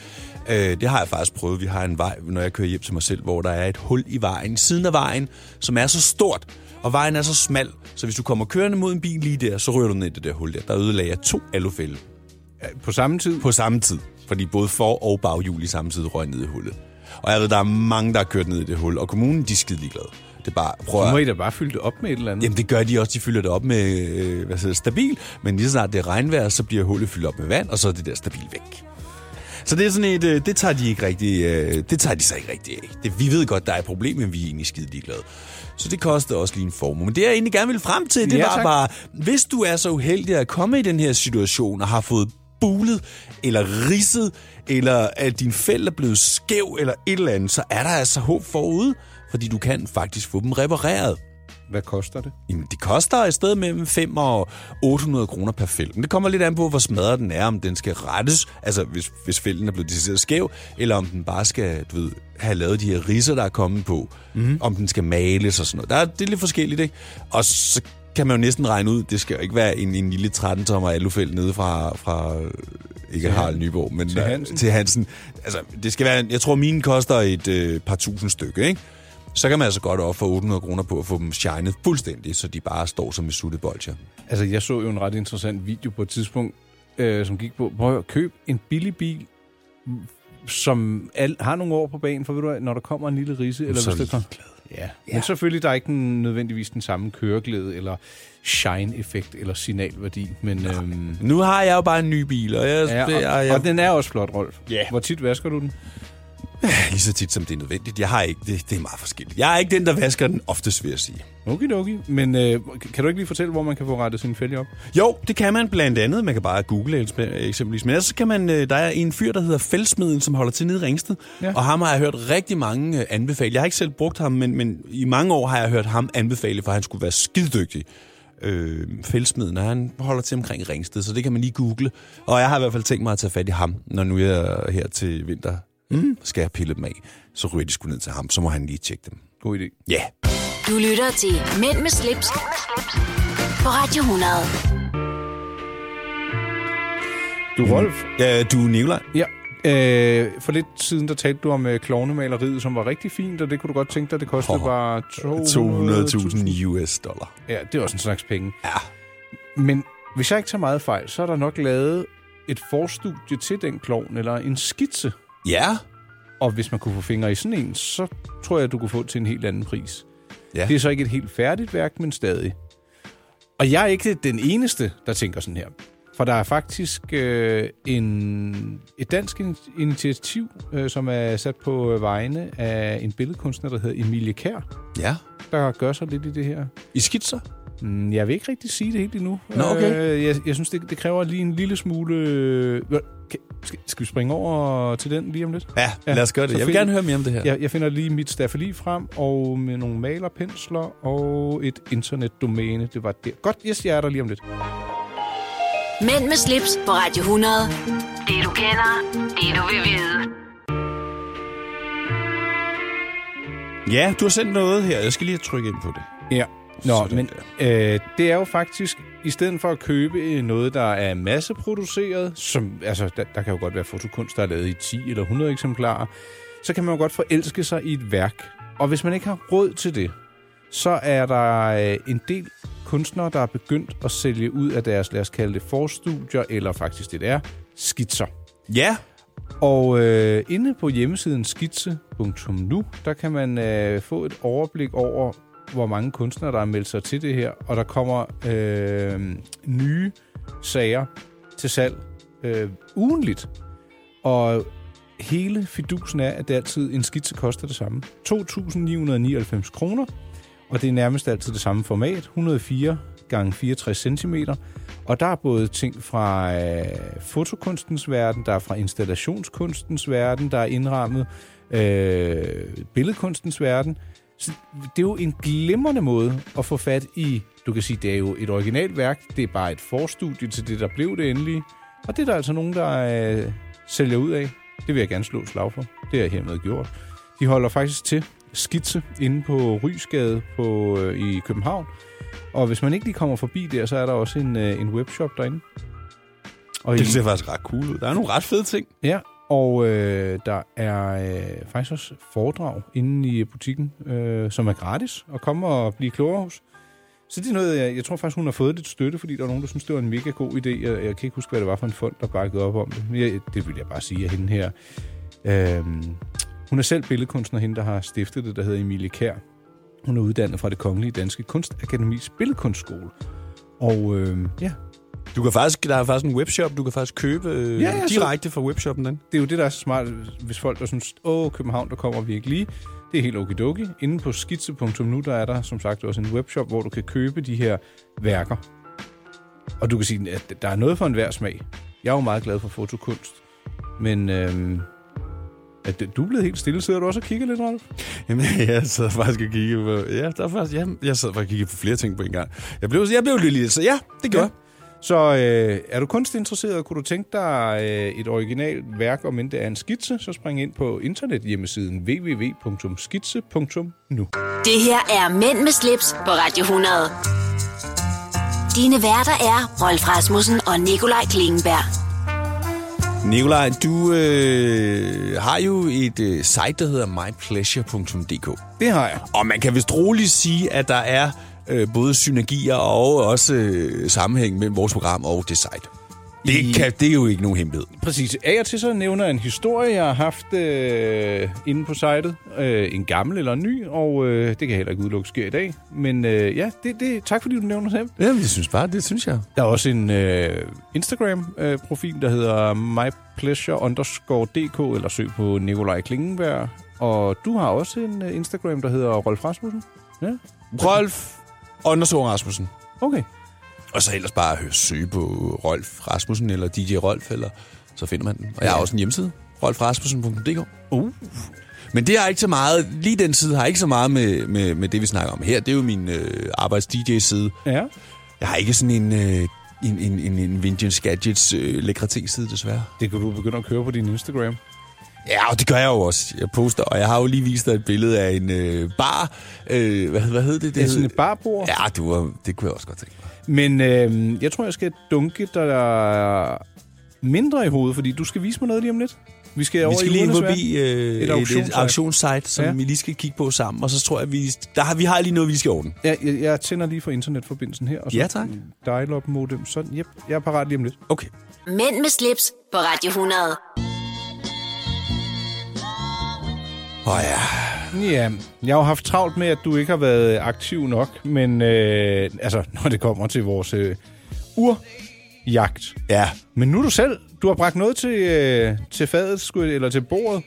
C: Øh, det har jeg faktisk prøvet. Vi har en vej, når jeg kører hjem til mig selv, hvor der er et hul i vejen, siden af vejen, som er så stort, og vejen er så smal, så hvis du kommer kørende mod en bil lige der, så ryger du ned i det der hul der. Der ødelagde jeg to alufælde
B: På samme tid?
C: på samme tid. Fordi både for- og baghjul i samme tid røg ned i hullet. Og jeg ved, der er mange, der har kørt ned i det hul, og kommunen, de er skide ligeglade. Det er bare, prøv
B: Nu må
C: at...
B: I da bare fylde det op med et eller andet.
C: Jamen, det gør de også. De fylder det op med øh, hvad hedder, det, stabil, men lige så snart det er regnvejr, så bliver hullet fyldt op med vand, og så er det der stabil væk. Så det er sådan et, øh, det tager de ikke rigtig, øh, det tager de sig ikke rigtig af. Det, vi ved godt, der er et problem, men vi er egentlig skide ligeglade. Så det koster også lige en formue. Men det jeg egentlig gerne ville frem til, det
B: Ja,
C: var
B: tak.
C: bare, hvis du er så uheldig at komme i den her situation og har fået bulet, eller ridset, eller at din fæld er blevet skæv, eller et eller andet, så er der altså håb forude, fordi du kan faktisk få dem repareret.
B: Hvad koster det?
C: Jamen, det koster et sted mellem 5 og 800 kroner per fælden. Men det kommer lidt an på, hvor smadret den er, om den skal rettes, altså hvis, hvis fælden er blevet decideret skæv, eller om den bare skal, du ved, have lavet de her riser, der er kommet på. Mm. Om den skal males og sådan noget. Der er, det er lidt forskelligt, ikke? Og så kan man jo næsten regne ud, det skal jo ikke være en, en lille 13-tommer alufæld nede fra, fra øh, ikke Harald Nyborg, men
B: til Hansen.
C: til Hansen. Altså, det skal være, en- jeg tror, mine koster et øh, par tusind stykke, ikke? Så kan man altså godt op for 800 kroner på at få dem shined fuldstændig, så de bare står som et suttet bolcher.
B: Altså, jeg så jo en ret interessant video på et tidspunkt, øh, som gik på, prøv at købe en billig bil, m, som al, har nogle år på banen, for ved du hvad, når der kommer en lille risse, eller
C: så
B: hvis det kommer... Ja. ja, men selvfølgelig, der er ikke den, nødvendigvis den samme køreglæde, eller shine-effekt, eller signalværdi, men... Øhm,
C: Nu har jeg jo bare en ny bil, og jeg,
B: ja,
C: ja, jeg,
B: og,
C: jeg,
B: og den er også flot, Rolf.
C: Ja.
B: Hvor tit vasker du den?
C: lige så tit som det er nødvendigt. Jeg har ikke, det, det er meget forskelligt. Jeg er ikke den, der vasker den oftest, vil jeg sige.
B: Okay, okay. Men øh, kan du ikke lige fortælle, hvor man kan få rettet sin fælge op?
C: Jo, det kan man blandt andet. Man kan bare google eksp- eksempelvis. Men ellers så kan man, øh, der er en fyr, der hedder Fældsmeden, som holder til nede i Ringsted.
B: Ja.
C: Ja. Og ham har jeg hørt rigtig mange øh, anbefale. Jeg har ikke selv brugt ham, men, men i mange år har jeg hørt ham anbefale, for han skulle være skiddygtig. Øh, Fældsmeden, og han holder til omkring Ringsted, så det kan man lige google. Og jeg har i hvert fald tænkt mig at tage fat i ham, når nu jeg er her til vinter. Mm. Skal jeg pille dem af, så ryger de sgu ned til ham. Så må han lige tjekke dem.
B: God idé.
C: Ja. Yeah.
A: Du lytter til Mænd med slips, på Radio 100.
B: Du, Rolf,
C: Ja, du er Nicolaj.
B: Ja. Øh, for lidt siden, der talte du om øh, klovnemaleriet, som var rigtig fint, og det kunne du godt tænke dig, det kostede
C: Åh,
B: bare 200.000.
C: 200.000 US dollar.
B: Ja, det er også en slags penge.
C: Ja.
B: Men hvis jeg ikke tager meget fejl, så er der nok lavet et forstudie til den klovn, eller en skitse.
C: Ja.
B: Og hvis man kunne få fingre i sådan en, så tror jeg, du kunne få til en helt anden pris.
C: Ja.
B: Det er så ikke et helt færdigt værk, men stadig. Og jeg er ikke den eneste, der tænker sådan her. For der er faktisk øh, en, et dansk in- initiativ, øh, som er sat på øh, vegne af en billedkunstner, der hedder Emilie Kær,
C: Ja.
B: der gør sig lidt i det her.
C: I skitser?
B: Mm, Jeg vil ikke rigtig sige det helt endnu.
C: Nå, okay.
B: Øh, jeg, jeg synes, det, det kræver lige en lille smule... Øh, hvad- kan, skal, skal vi springe over til den lige om lidt?
C: Ja,
B: Ja,
C: lad os gøre
B: så
C: det. Jeg vil
B: find-
C: gerne høre mere om det her.
B: Jeg, jeg finder lige mit staffeli frem, og med nogle malerpensler og et internetdomæne. Det var der. Godt, yes, jeg er der lige om lidt.
A: Mænd med slips på Radio 100. Det du kender, det du vil vide.
C: Ja, du har sendt noget her. Jeg skal lige trykke ind på det.
B: Ja. Nå,
C: Sådan
B: men øh, det er jo faktisk, i stedet for at købe øh, noget, der er masseproduceret, som, altså, der, der kan jo godt være fotokunst, der er lavet i 10 eller 100 eksemplarer, så kan man jo godt forelske sig i et værk. Og hvis man ikke har råd til det, så er der øh, en del kunstnere, der er begyndt at sælge ud af deres, lad os kalde det forstudier, eller faktisk det er, skitser.
C: Ja.
B: Og øh, inde på hjemmesiden skitse.nu, der kan man øh, få et overblik over, hvor mange kunstnere, der har meldt sig til det her. Og der kommer øh, nye sager til salg øh, ugenligt. Og hele fidusen er, at det altid en skitse koster det samme. 2.999 kroner, og det er nærmest altid det samme format. 104 gange 64 cm. Og der er både ting fra øh, fotokunstens verden, der er fra installationskunstens verden, der er indrammet øh, billedkunstens verden. Så det er jo en glimrende måde at få fat i, du kan sige, det er jo et originalt værk, det er bare et forstudie til det, der blev det endelige, Og det er der altså nogen, der øh, sælger ud af. Det vil jeg gerne slå et slag for. Det er hermed gjort. De holder faktisk til skitse inde på Rysgade på, øh, i København. Og hvis man ikke lige kommer forbi der, så er der også en, øh, en webshop derinde. Og i-
C: Det ser faktisk ret cool ud. Der er nogle ret fede ting.
B: Ja, og øh, der er øh, faktisk også foredrag inde i butikken, øh, som er gratis at komme og blive klogere hos. Så det er noget, jeg, jeg tror faktisk, hun har fået lidt støtte, fordi der var nogen, der synes det var en mega god idé. Jeg, jeg kan ikke huske, hvad det var for en fond, der bakkede op om det. Men jeg, det vil jeg bare sige af hende her. Øhm, hun er selv billedkunstner, hende, der har stiftet det, der hedder Emilie Kær. Hun er uddannet fra det Kongelige Danske Kunstakademis Billedkunstskole. Og øhm, ja,
C: Du kan faktisk, der er faktisk en webshop, du kan faktisk købe øh,
B: Ja, ja, så-
C: direkte fra webshoppen den.
B: det er jo det, der er så smart, hvis folk der synes, åh, København, der kommer vi ikke lige. Det er helt okidoki. Inde på skitse.nu, der er der som sagt også en webshop, hvor du kan købe de her værker. Og du kan sige, at der er noget for enhver smag. Jeg er jo meget glad for fotokunst. Men øhm, at du er blevet helt stille, sidder du også og kigger lidt, Rolf?
C: Jamen, jeg sad faktisk og kiggede på... Ja, der er faktisk, ja, jeg sad faktisk og kiggede på flere ting på en gang. Jeg blev, jeg blev lille, så ja, det gjorde jeg.
B: Så øh, er du kunstinteresseret, kunne du tænke dig øh, et originalt værk, om end det er en skitse, så spring ind på internethjemmesiden www.skitse.nu.
A: Det her er Mænd med slips på Radio 100. Dine værter er Rolf Rasmussen og Nikolaj Klingenberg.
C: Nikolaj, du øh, har jo et øh, site, der hedder mypleasure.dk.
B: Det har jeg.
C: Og man kan vist roligt sige, at der er øh, både synergier og også øh, sammenhæng mellem vores program og det site. Det, kan, det er jo ikke nogen hemmelighed.
B: Præcis. Af og til så nævner jeg en historie, jeg har haft øh, inde på sitet. Øh, en gammel eller en ny, og øh, det kan jeg heller ikke udelukke sker i dag. Men øh, ja, det, det, tak fordi du nævner det.
C: Ja, det synes bare, det synes jeg.
B: Der er også en øh, Instagram-profil, der hedder mypleasure underscore dk, eller søg på Nikolaj Klingenberg. Og du har også en øh, Instagram, der hedder Rolf Rasmussen. Ja,
C: Rolf Andersson Rasmussen.
B: okay.
C: Og så ellers bare hø- søge på Rolf Rasmussen eller DJ Rolf, eller så finder man den. Og jeg har også en hjemmeside, rolfrasmussen.dk.
B: Uh.
C: Men det har ikke så meget, lige den side har ikke så meget med, med, med det, vi snakker om her. Det er jo min øh, arbejds-DJ-side.
B: Ja.
C: Jeg har ikke sådan en, øh, en, en, en, en Vintage Gadgets øh, lækkerting-side, desværre.
B: Det kan du begynde at køre på din Instagram.
C: Ja, og det gør jeg jo også. Jeg poster, og jeg har jo lige vist dig et billede af en øh, bar. Øh, hvad, hvad hed det?
B: Det er sådan
C: hed-
B: et barbord.
C: Ja, det, var, det kunne jeg også godt tænke mig.
B: Men øh, jeg tror, jeg skal dunke dig mindre i hovedet, fordi du skal vise mig noget lige om lidt. Vi skal, over
C: Vi skal
B: i
C: lige
B: ugernes
C: forbi øh, et, et, et
B: auktionssite.
C: auktionssite, som
B: Ja.
C: ja. vi lige skal kigge på sammen. Og så tror jeg, vi, der har, vi har lige noget, vi skal ordne.
B: verden. Ja, jeg, jeg tænder lige for internetforbindelsen her. Og så
C: Ja, tak.
B: Dial-up modem. Sådan, yep, jeg er parat lige om lidt.
C: Okay.
A: Mænd med slips på Radio 100.
C: Åh oh, ja.
B: Ja, jeg har jo haft travlt med, at du ikke har været aktiv nok, men øh, altså, når det kommer til vores øh, urjagt.
C: Ja.
B: Men nu er du selv, du har bragt noget til, øh, til fadet, skulle, eller til bordet.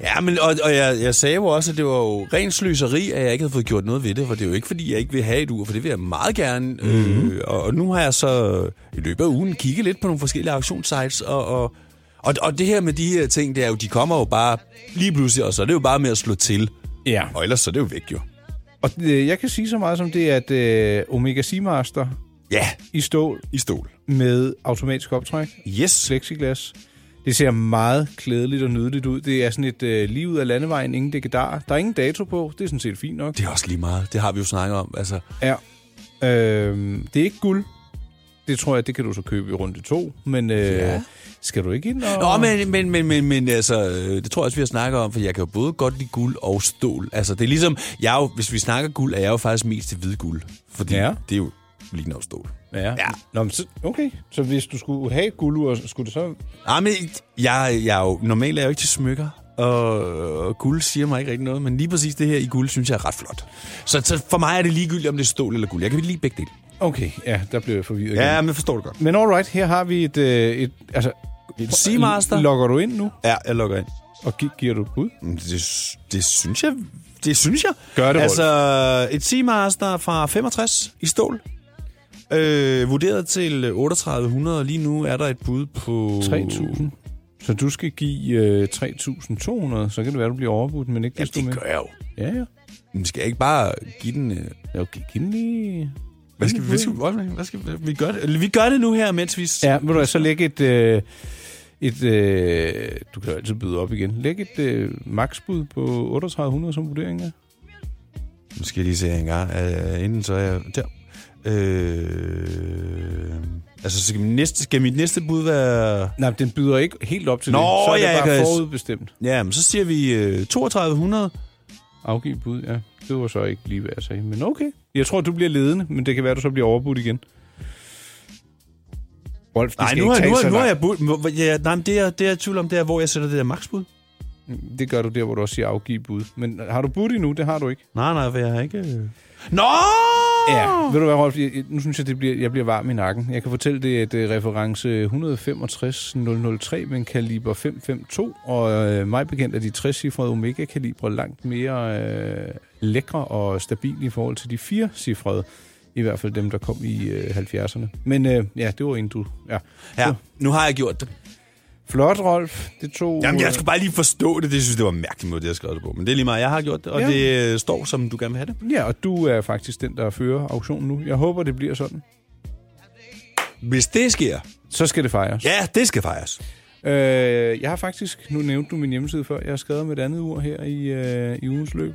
C: Ja, men, og, og jeg, jeg sagde jo også, at det var jo ren sløseri, at jeg ikke havde fået gjort noget ved det, for det er jo ikke, fordi jeg ikke vil have et ur, for det vil jeg meget gerne. Mm-hmm. Øh, og, og nu har jeg så i løbet af ugen kigget lidt på nogle forskellige auktionssites, og, og, og, og det her med de her ting, det er jo, de kommer jo bare lige pludselig, og så er det jo bare med at slå til.
B: Ja.
C: Og ellers så er det jo væk jo.
B: Og øh, jeg kan sige så meget som det, at øh, Omega Seamaster
C: Ja,
B: i stål
C: i stål.
B: med automatisk optræk,
C: Yes.
B: plexiglas. Det ser meget klædeligt og nydeligt ud. Det er sådan et øh, lige ud af landevejen, ingen dekadar. Der er ingen dato på, det er sådan set fint nok.
C: Det er også lige meget. Det har vi jo snakket om. Altså,
B: Ja. Øhm, det er ikke guld. Det tror jeg, det kan du så købe i runde to. Men øh, ja. skal du ikke ind og...
C: Nå, men, men, men, men, men altså, øh, det tror jeg også, vi har snakket om, for jeg kan jo både godt lide guld og stål. Altså, det er ligesom, jeg er jo, hvis vi snakker guld, er jeg jo faktisk mest til hvid guld, fordi
B: Ja.
C: ja. det er jo lige noget stål.
B: Ja. ja. Nå, men så, okay, så hvis du skulle have guldur, skulle det så...
C: Nej, men jeg, jeg er jo, normalt er jeg jo ikke til smykker, og, og guld siger mig ikke rigtig noget, men lige præcis det her i guld, synes jeg er ret flot. Så, så for mig er det ligegyldigt, om det er stål eller guld. Jeg kan lide begge dele.
B: Okay, ja, der blev jeg forvirret igen.
C: Ja, men forstår du godt.
B: Men alright, her har vi et... Øh, et altså,
C: Et Seamaster.
B: Logger du ind nu,
C: Ja, jeg lukker ind.
B: og gi- giver du et bud?
C: Mm, Det, det synes jeg. Det synes jeg.
B: Gør det,
C: Altså, et Seamaster fra 65 i stål. Øh, vurderet til 3800, og lige nu er der et bud på...
B: 3.000. Så du skal give øh, 3.200, så kan det være, du bliver overbudt, men ikke
C: Ja,
B: desto
C: det
B: mere.
C: gør jeg jo.
B: Ja, ja.
C: Men skal jeg ikke bare give den... Øh...
B: Okay, giv den lige...
C: Hvad skal vi, hvad skal vi, hvad skal vi, vi, gør det, vi gør det nu her, mens vi...
B: Ja, vil du hvad, så lægge et... Øh, et, øh, du kan jo altid byde op igen. Læg et øh, maksbud på 3800 som vurdering af.
C: Nu skal jeg lige se her engang. Uh, inden så er jeg der. Øh, altså, så skal, min næste, skal mit næste bud være...
B: Nej, men den byder ikke helt op til
C: Nå,
B: det. Så er
C: ja, jeg
B: det bare
C: kan-
B: forudbestemt.
C: Ja, men så siger vi øh, 3200.
B: Afgiv bud, ja. Det var så ikke lige, hvad jeg sagde. Men okay. Jeg tror, du bliver ledende, men det kan være, du så bliver overbudt igen. Rolf, det
C: Nej,
B: skal
C: nu
B: ikke
C: har,
B: tage
C: nu, har,
B: så
C: nu har
B: langt.
C: jeg bud... hvor- Ja, nej, men det, er, det er jeg i tvivl om, det er, hvor jeg sætter det der maksbud.
B: Det gør du der, hvor du også siger afgiv bud. Men har du budt endnu? Det har du ikke.
C: Nej, nej, for jeg har ikke... øh. Nå!
B: Ja, Ah. ved du hvad, Rolf? Jeg, jeg- nu synes jeg, det bliver, jeg bliver varm i nakken. Jeg kan fortælle, det er et øh, reference 165-003 med en kaliber 552, og øh, mig bekendt er de 60-cifrede Omega-kalibre langt mere øh, lækre og stabile i forhold til de 4-cifrede. I hvert fald dem, der kom i øh, 70'erne. Men øh, ja, det var inden du... Ja.
C: Ja, nu har jeg gjort det.
B: Flot, Rolf. Det tog... øh,
C: Jamen, jeg skulle bare lige forstå det. Det synes jeg, det var mærkeligt måde, det jeg skrev det på. Men det er lige meget. Jeg har gjort det, og
B: Ja.
C: ja. det øh, står, som du gerne vil have det.
B: Ja, og du er faktisk den, der fører auktionen nu. Jeg håber, det bliver sådan.
C: Hvis det sker,
B: Så skal det fejres.
C: ja, det skal fejres.
B: Øh, jeg har faktisk, nu nævnte du min hjemmeside før, jeg har skrevet med et andet ur her i, øh, i ugens løb.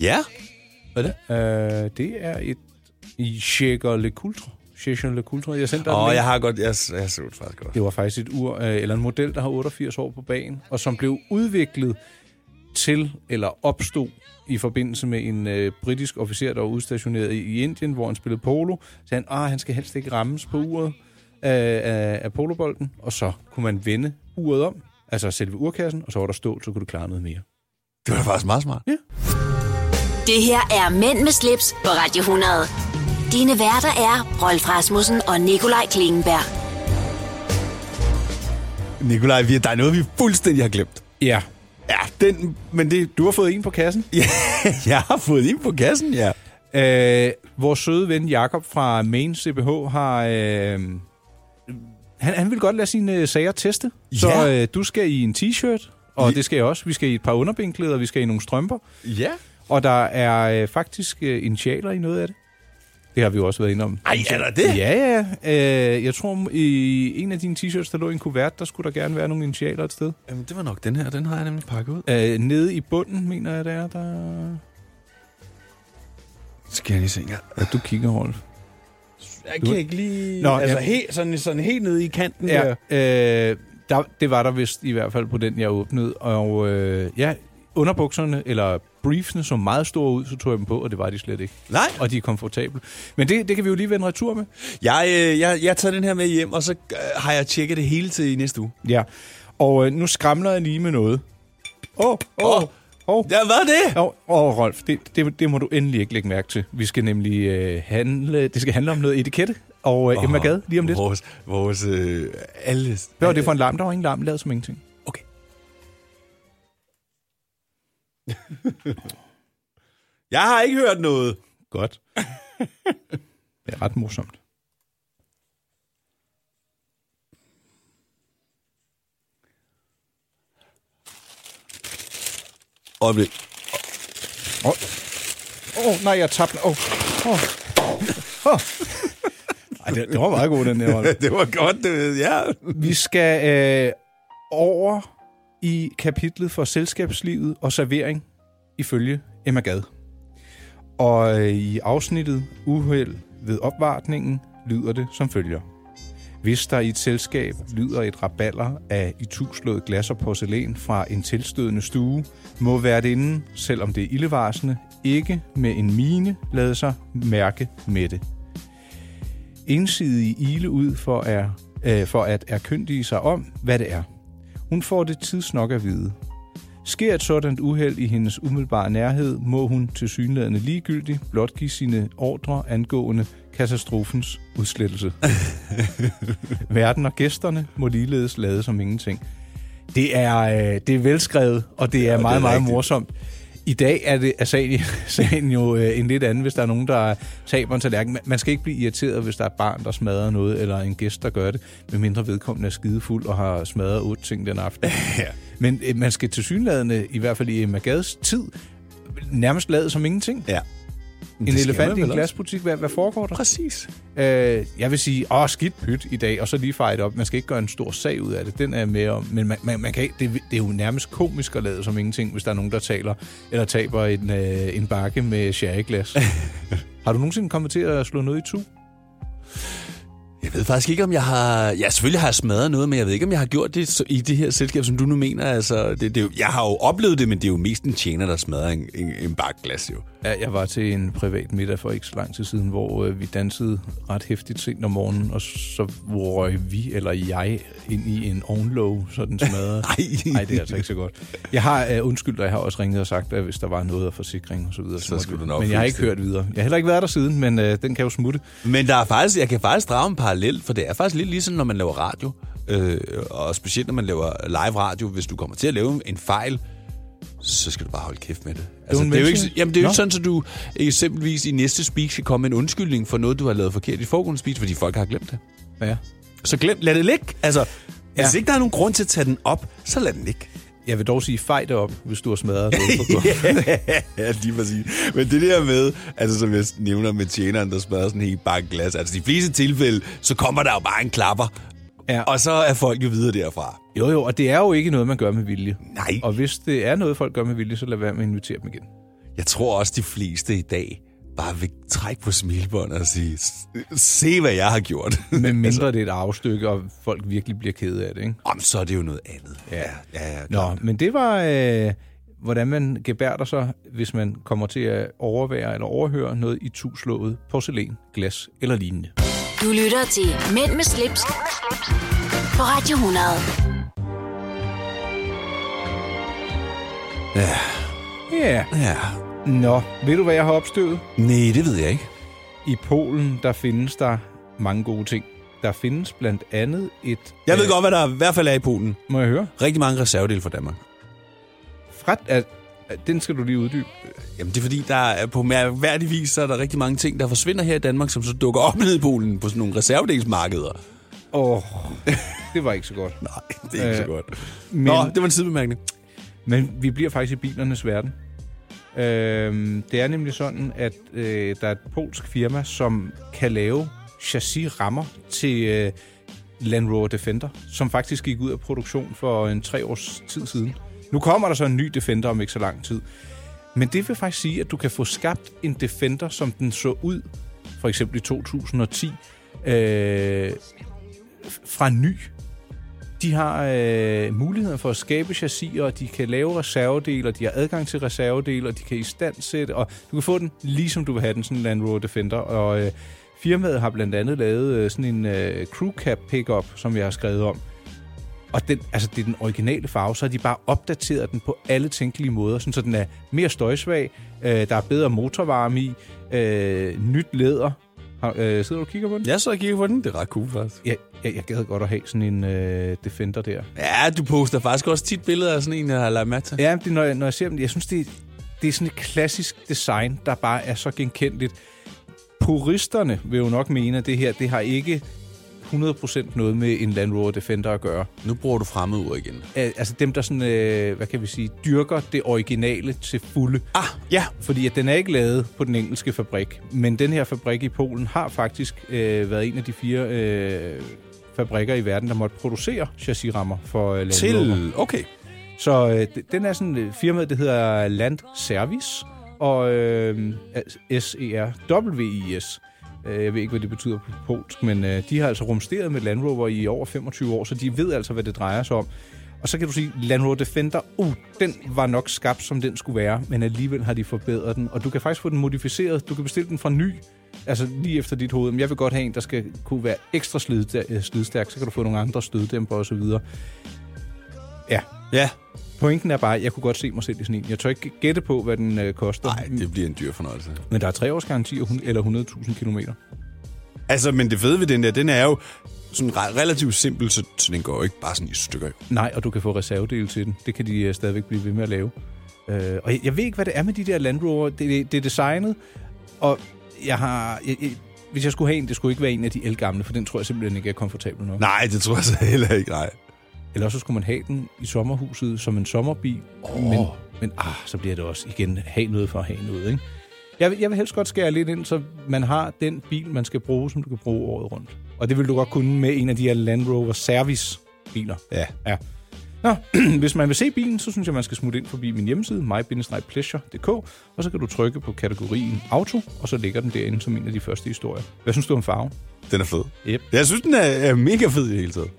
C: Ja. Hvad er det?
B: Øh, det er et i Shaker Le Coultre. Shaker Le Coultre. Jeg sendte dig
C: Åh,
B: oh,
C: oh,
B: ja.
C: jeg har godt... Jeg, jeg så det faktisk godt.
B: Det var faktisk et ur, øh, eller en model, der har 88 år på banen, og som blev udviklet til, eller opstod i forbindelse med en øh, britisk officer, der var udstationeret i, i Indien, hvor han spillede polo. Så han, ah, han skal helst ikke rammes på uret øh, af, af polobolden, og så kunne man vende uret om, altså selve urkassen, og så var der stå, så kunne du klare noget mere.
C: Det var faktisk meget smart.
A: Det her er Mænd med slips på Radio 100. Dine værter er Rolf Rasmussen og Nikolaj Klingenberg.
C: Nikolaj, vi, der er noget, vi fuldstændig har glemt.
B: Ja.
C: Ja, den... Men det...
B: Du har fået en på kassen.
C: Ja, jeg har fået ind på kassen, ja.
B: Øh, vores søde ven Jakob fra Main CBH har... Øh, han, han vil godt lade sine øh, sager teste. Så
C: Ja.
B: øh, du skal i en t-shirt, og
C: Ja.
B: det skal jeg også. Vi skal i et par underbenklæder, vi skal i nogle strømper.
C: Ja.
B: Og der er øh, faktisk øh, initialer i noget af det. Det har vi jo også været inde om.
C: Ej, er der det?
B: Ja, ja. Øh, jeg tror, i en af dine t-shirts, der lå i en kuvert, der skulle der gerne være nogle initialer et sted.
C: Jamen, det var nok den her. Den har jeg nemlig pakket ud.
B: Øh, nede i bunden, mener jeg, det er, der...
C: Skal jeg lige se en gang.
B: Ja, du kigger, Rolf.
C: Jeg
B: kan altså,
C: ikke lige...
B: Nå, ja.
C: helt, sådan, sådan helt nede i kanten
B: Ja, øh, der, det var der vist i hvert fald på den, jeg åbnede. Og øh, ja, underbukserne, eller briefsene, så meget store ud, så tog jeg dem på, og det var de slet ikke.
C: Nej.
B: Og de er komfortable. Men det, det kan vi jo lige vende retur med.
C: Jeg, øh, jeg, jeg tager den her med hjem, og så øh, har jeg tjekket det hele til i næste uge.
B: Ja. Og øh, nu skramler jeg lige med noget. Åh, åh,
C: Åh.
B: åh.
C: Ja, hvad er det?
B: Åh, oh, Rolf, det, det, det må du endelig ikke lægge mærke til. Vi skal nemlig øh, handle, det skal handle om noget etikette og øh, Emma Gad lige om lidt.
C: Vores, vores øh, alles...
B: Hvad var det for en larm? Der var ingen larm, lavet som ingenting.
C: Okay. jeg har ikke hørt noget.
B: Godt. det er ret morsomt.
C: Øjeblik.
B: Åh, oh. oh, nej, jeg tabte. Åh, oh. oh. oh. Ej, det, det var meget god, den der. Rolf.
C: Det var godt, det, ja.
B: Vi skal øh, over i kapitlet for selskabslivet og servering ifølge Emma Gad. Og øh, i afsnittet Uheld ved opvartningen lyder det som følger. Hvis der i et selskab lyder et raballer af i tuslået glas og porcelæn fra en tilstødende stue, må værtinden, selvom det er ildevarsende, ikke med en mine lade sig mærke med det ensidige ile ud for, er, øh, for at erkyndige sig om, hvad det er. Hun får det tidsnok at vide. Sker et sådan uheld i hendes umiddelbare nærhed, må hun til synlædende ligegyldig blot give sine ordre angående katastrofens udslettelse. Verden og gæsterne må ligeledes lade som ingenting. Det er, øh, det er velskrevet, og det er meget,
C: er
B: meget
C: rigtigt.
B: morsomt. I dag er, det, er sagen, sagen jo øh, en lidt anden, hvis der er nogen, der taber en tallerken. Man- Man skal ikke blive irriteret, hvis der er et barn, der smadrer noget, eller en gæst, der gør det, medmindre vedkommende er skidefuld og har smadret otte ting den aften. ja. Men øh, man skal til synlædende, i hvert fald i Emma Gads tid, nærmest lade som ingenting.
C: Ja.
B: en
C: det skal
B: elefant
C: man
B: i en
C: vel også.
B: glasbutik. Hvad, hvad foregår der?
C: Præcis.
B: Øh, jeg vil sige, åh, skidt pyt i dag, og så lige fejre det op. Man skal ikke gøre en stor sag ud af det. Den er jeg med om. Men man, man, man kan, ikke- det, det er jo nærmest komisk at lade som ingenting, hvis der er nogen, der taler eller taber en, øh, en bakke med sherryglas. Har du nogensinde kommet til at slå noget i tu?
C: Jeg ved faktisk ikke, om jeg har... Ja, selvfølgelig har jeg smadret noget, men jeg ved ikke, om jeg har gjort det så- i det her selskab, som du nu mener. Altså, det, det, er jo- jeg har jo oplevet det, men det er jo mest en tjener, der smadrer en, en, en bakglas, jo.
B: Ja, jeg var til en privat middag for ikke så lang tid siden, hvor øh, vi dansede ret hæftigt sent om morgenen, og så røg vi eller jeg ind i en ovenlåge, så den smadrede.
C: Ej.
B: Nej, det er altså ikke så godt. Jeg har øh, undskyldt, og jeg har også ringet og sagt, at hvis der var noget af forsikring og så videre,
C: Så
B: måtte
C: skulle
B: vi-
C: du nok
B: Men jeg har
C: fikse
B: ikke hørt videre. Jeg har heller ikke været der siden, men øh, den kan jo smutte.
C: Men der er faktisk, jeg kan faktisk drage en parallel, for det er faktisk lidt ligesom, når man laver radio. Øh, og specielt, når man laver live radio. Hvis du kommer til at lave en fejl, så skal du bare holde kæft med det. Altså,
B: en
C: det er jo ikke,
B: mention.
C: jamen, det er jo
B: Nå.
C: ikke sådan, at du eksempelvis i næste speech skal komme med en undskyldning for noget, du har lavet forkert i foregående speech, fordi folk har glemt det.
B: Ja.
C: Så glem, lad det ligge. Altså, ja. hvis
B: Ja.
C: ikke der er nogen grund til at tage den op, så lad den ligge.
B: Jeg vil dog sige, fej det op, hvis du har smadret noget på gulvet.
C: ja, lige præcis. Men det der med, altså som jeg nævner med tjeneren, der smadrer sådan en hel bakke glas, altså de fleste tilfælde, så kommer der jo bare en klapper.
B: Ja.
C: Og så er folk jo videre derfra.
B: Jo, jo, og det er jo ikke noget, man gør med vilje.
C: Nej.
B: Og hvis det er noget, folk gør med vilje, så lad være med at invitere dem igen.
C: Jeg tror også, de fleste i dag bare vil trække på smilbåndet og sige, se hvad jeg har gjort.
B: Men mindre
C: Altså-
B: det er et arvestykke, og folk virkelig bliver kede af det, ikke?
C: Om så er det jo noget andet. Ja, ja, ja.
B: Nå, men det var, øh, hvordan man gebærder sig, hvis man kommer til at overvære eller overhøre noget i tuslået porcelæn, glas eller lignende.
A: Du lytter til Mænd med slips, Mænd med slips. på Radio 100.
B: Ja,
C: ja.
B: nå, ved du hvad jeg har opstøvet?
C: Nej, det ved jeg ikke.
B: I Polen, der findes der mange gode ting. Der findes blandt andet et... øh,
C: Jeg ved godt, hvad der i hvert fald er i Polen.
B: Må jeg høre?
C: Rigtig mange reservedele fra Danmark.
B: Fret, at, at, den skal du lige uddybe.
C: Jamen det er fordi, der er på mærkværdig vis, så er der rigtig mange ting, der forsvinder her i Danmark, som så dukker op nede i Polen på sådan nogle reservedelsmarkeder.
B: Åh, oh, det var ikke så godt.
C: Nej, det er ikke øh, så godt.
B: Men,
C: Nå, det var en sidebemærkning.
B: Men vi bliver faktisk i bilernes verden. Øhm, det er nemlig sådan, at øh, der er et polsk firma, som kan lave chassis-rammer til øh, Land Rover Defender, som faktisk gik ud af produktion for en tre års tid siden. Nu kommer der så en ny Defender om ikke så lang tid. Men det vil faktisk sige, at du kan få skabt en Defender, som den så ud, for eksempel i 2010, øh, fra ny. De har øh, muligheden for at skabe chassiser, og de kan lave reservedele, og de har adgang til reservedele, og de kan istandsætte, og du kan få den lige som du vil have den, sådan en Land Rover Defender. Og øh, firmaet har blandt andet lavet øh, sådan en øh, crew cab pickup, som jeg har skrevet om. Og den, altså, det er den originale farve, så har de bare opdateret den på alle tænkelige måder, sådan, så den er mere støjsvag, øh, der er bedre motorvarme i, øh, nyt læder. Har, øh, sidder du og kigger på den?
C: Jeg så og kigger på den. Det er ret cool faktisk.
B: Jeg, jeg, jeg gad godt at have sådan en øh, Defender der.
C: Ja, du poster faktisk også tit billeder af sådan en, jeg har lagt mærke til.
B: Ja, det, når, jeg, når jeg ser dem, jeg synes, det, det er sådan et klassisk design, der bare er så genkendeligt. Puristerne vil jo nok mene, at det her, det har ikke 100% noget med en Land Rover Defender at gøre.
C: Nu bruger du fremmedord igen.
B: Al- Altså dem, der sådan, øh, hvad kan vi sige, dyrker det originale til fulde.
C: Ah, ja.
B: Fordi at den er ikke lavet på den engelske fabrik, men den her fabrik i Polen har faktisk øh, været en af de fire øh, fabrikker i verden, der måtte producere chassisrammer for øh, Land Rover.
C: Til, okay.
B: Så øh, d- den er sådan øh, firmaet, det hedder Land Service, og øh, E, S-E-R-W-I-S. Øh, Jeg ved ikke, hvad det betyder på polsk, men øh, de har altså rumsteret med Land Rover i over 25 år, så de ved altså, hvad det drejer sig om. Og så kan du sige, Land Rover Defender, uh, den var nok skabt, som den skulle være, men alligevel har de forbedret den. Og du kan faktisk få den modificeret. Du kan bestille den fra ny, altså lige efter dit hoved. Men jeg vil godt have en, der skal kunne være ekstra slidstær- øh, slidstærk, så kan du få nogle andre støddæmper osv. Ja,
C: Ja.
B: Pointen er bare, at jeg kunne godt se mig selv i sådan en. Jeg tør ikke gætte på, hvad den øh, koster.
C: Nej, det bliver en dyr fornøjelse.
B: Men der er tre års garanti og hun- eller 100.000 kilometer.
C: Altså, men det fede ved den der, den er jo sådan re- relativt simpel, så, så den går jo ikke bare sådan i stykker. jo.
B: Nej, og du kan få reservedele til den. Det kan de øh, stadigvæk blive ved med at lave. Øh, og jeg, jeg ved ikke, hvad det er med de der Land Rover. Det, det, det er designet, og jeg har... Jeg, jeg, hvis jeg skulle have en, det skulle ikke være en af de elgamle, for den tror jeg simpelthen ikke er komfortabel nok.
C: Nej, det tror jeg så heller ikke, nej.
B: Eller også så skulle man have den i sommerhuset som en sommerbil. Oh. Men, men ah, så bliver det også igen have noget for at have noget, ikke? Jeg vil, jeg vil helst godt skære lidt ind, så man har den bil, man skal bruge, som du kan bruge året rundt. Og det vil du godt kunne med en af de her Land Rover Service-biler.
C: Ja.
B: ja. Nå, hvis man vil se bilen, så synes jeg, man skal smutte ind forbi min hjemmeside, my-pleasure.dk, og så kan du trykke på kategorien Auto, og så ligger den derinde som en af de første historier. Hvad synes du om farven?
C: Den er fed.
B: Yep.
C: Jeg synes, den er, er mega fed i det hele taget.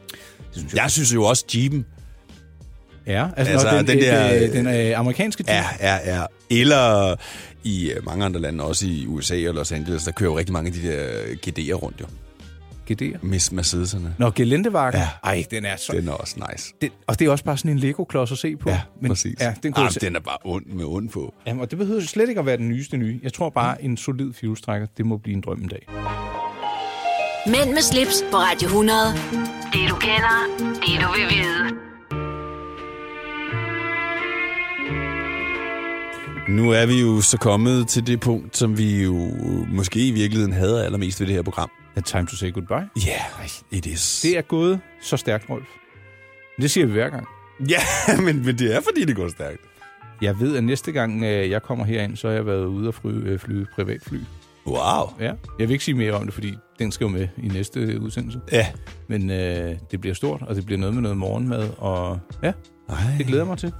C: Synes jeg. jeg synes jo også, Jeep'en
B: Ja, altså,
C: Altså,
B: altså den,
C: den
B: den,
C: der-
B: den, den øh, amerikanske
C: er, er, er. Eller i øh, mange andre lande, også i USA og Los Angeles, der kører jo rigtig mange af de der GD'er rundt jo.
B: GD'er.
C: Mis Mercedes'erne.
B: Nå, Gelendevagen.
C: Ja.
B: Ej, den er så...
C: Den er også nice.
B: Den, og det er også bare sådan en Lego-klods at se på.
C: Ja, men, præcis.
B: Ja, den, kunne
C: ah,
B: jeg se-
C: den er bare ond med ond på.
B: Jamen, og det behøver slet ikke at være den nyeste nye. Jeg tror bare, en solid fjulstrækker, det må blive en drøm en dag.
A: Mænd med slips på Radio 100. Det du kender, det du vil vide.
C: Nu er vi jo så kommet til det punkt, som vi jo måske i virkeligheden hader allermest ved det her program.
B: The time to say goodbye.
C: Ja, yeah, it is.
B: Det er gået så stærkt, Rolf. Men Det siger vi hver gang.
C: Ja, men, men det er, fordi det går stærkt.
B: Jeg ved, at næste gang øh, jeg kommer herind, så har jeg været ude og flyve, øh, flyve privatfly.
C: Wow.
B: Ja. Jeg vil ikke sige mere om det, fordi den skal jo med i næste øh, udsendelse.
C: Ja.
B: Men øh, det bliver stort, og det bliver noget med noget morgenmad, og ja,
C: Ej.
B: det glæder jeg mig til.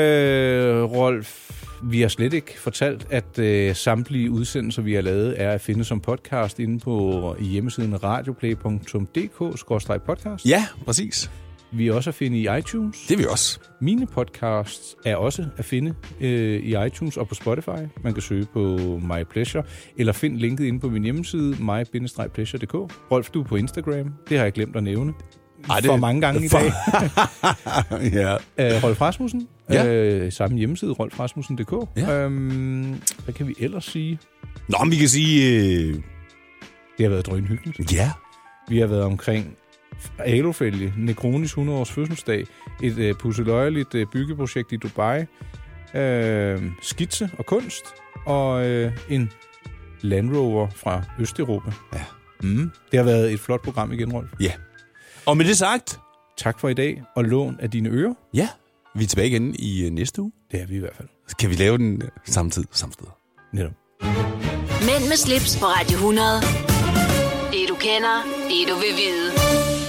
B: Øh, Rolf, vi har slet ikke fortalt, at øh, samtlige udsendelser, vi har lavet, er at finde som podcast inde på hjemmesiden radioplay.dk-podcast.
C: Ja, præcis.
B: Vi er også at finde i iTunes.
C: Det er vi også.
B: Mine podcasts er også at finde øh, i iTunes og på Spotify. Man kan søge på My Pleasure, eller find linket inde på min hjemmeside, my-pleasure.dk. Rolf, du er på Instagram. Det har jeg glemt at nævne.
C: Ej,
B: For mange gange i dag.
C: ja.
B: Øh, Rolf Rasmussen.
C: Ja.
B: Øh, samme hjemmeside, rolfrasmussen.dk.
C: Ja.
B: Øhm, hvad kan vi ellers sige?
C: Nå, men vi kan sige... Øh,
B: Det har været drønhyggeligt.
C: ja.
B: Vi har været omkring alofælge, Negronis 100-års fødselsdag, et øh, pusseløjeligt øh, byggeprojekt i Dubai, øh, skitse og kunst, og øh, en Land Rover fra Østeuropa.
C: Ja.
B: Mm. Det har været et flot program igen, Rolf.
C: Ja. Og med det sagt...
B: Tak for i dag, og lån af dine ører.
C: Ja. Vi er tilbage igen i øh, næste uge.
B: Det er vi i hvert fald.
C: Kan vi lave den øh, samtidig? Samtidig.
B: Netop.
A: Mænd med slips på Radio 100. Det du kender, det du vil vide.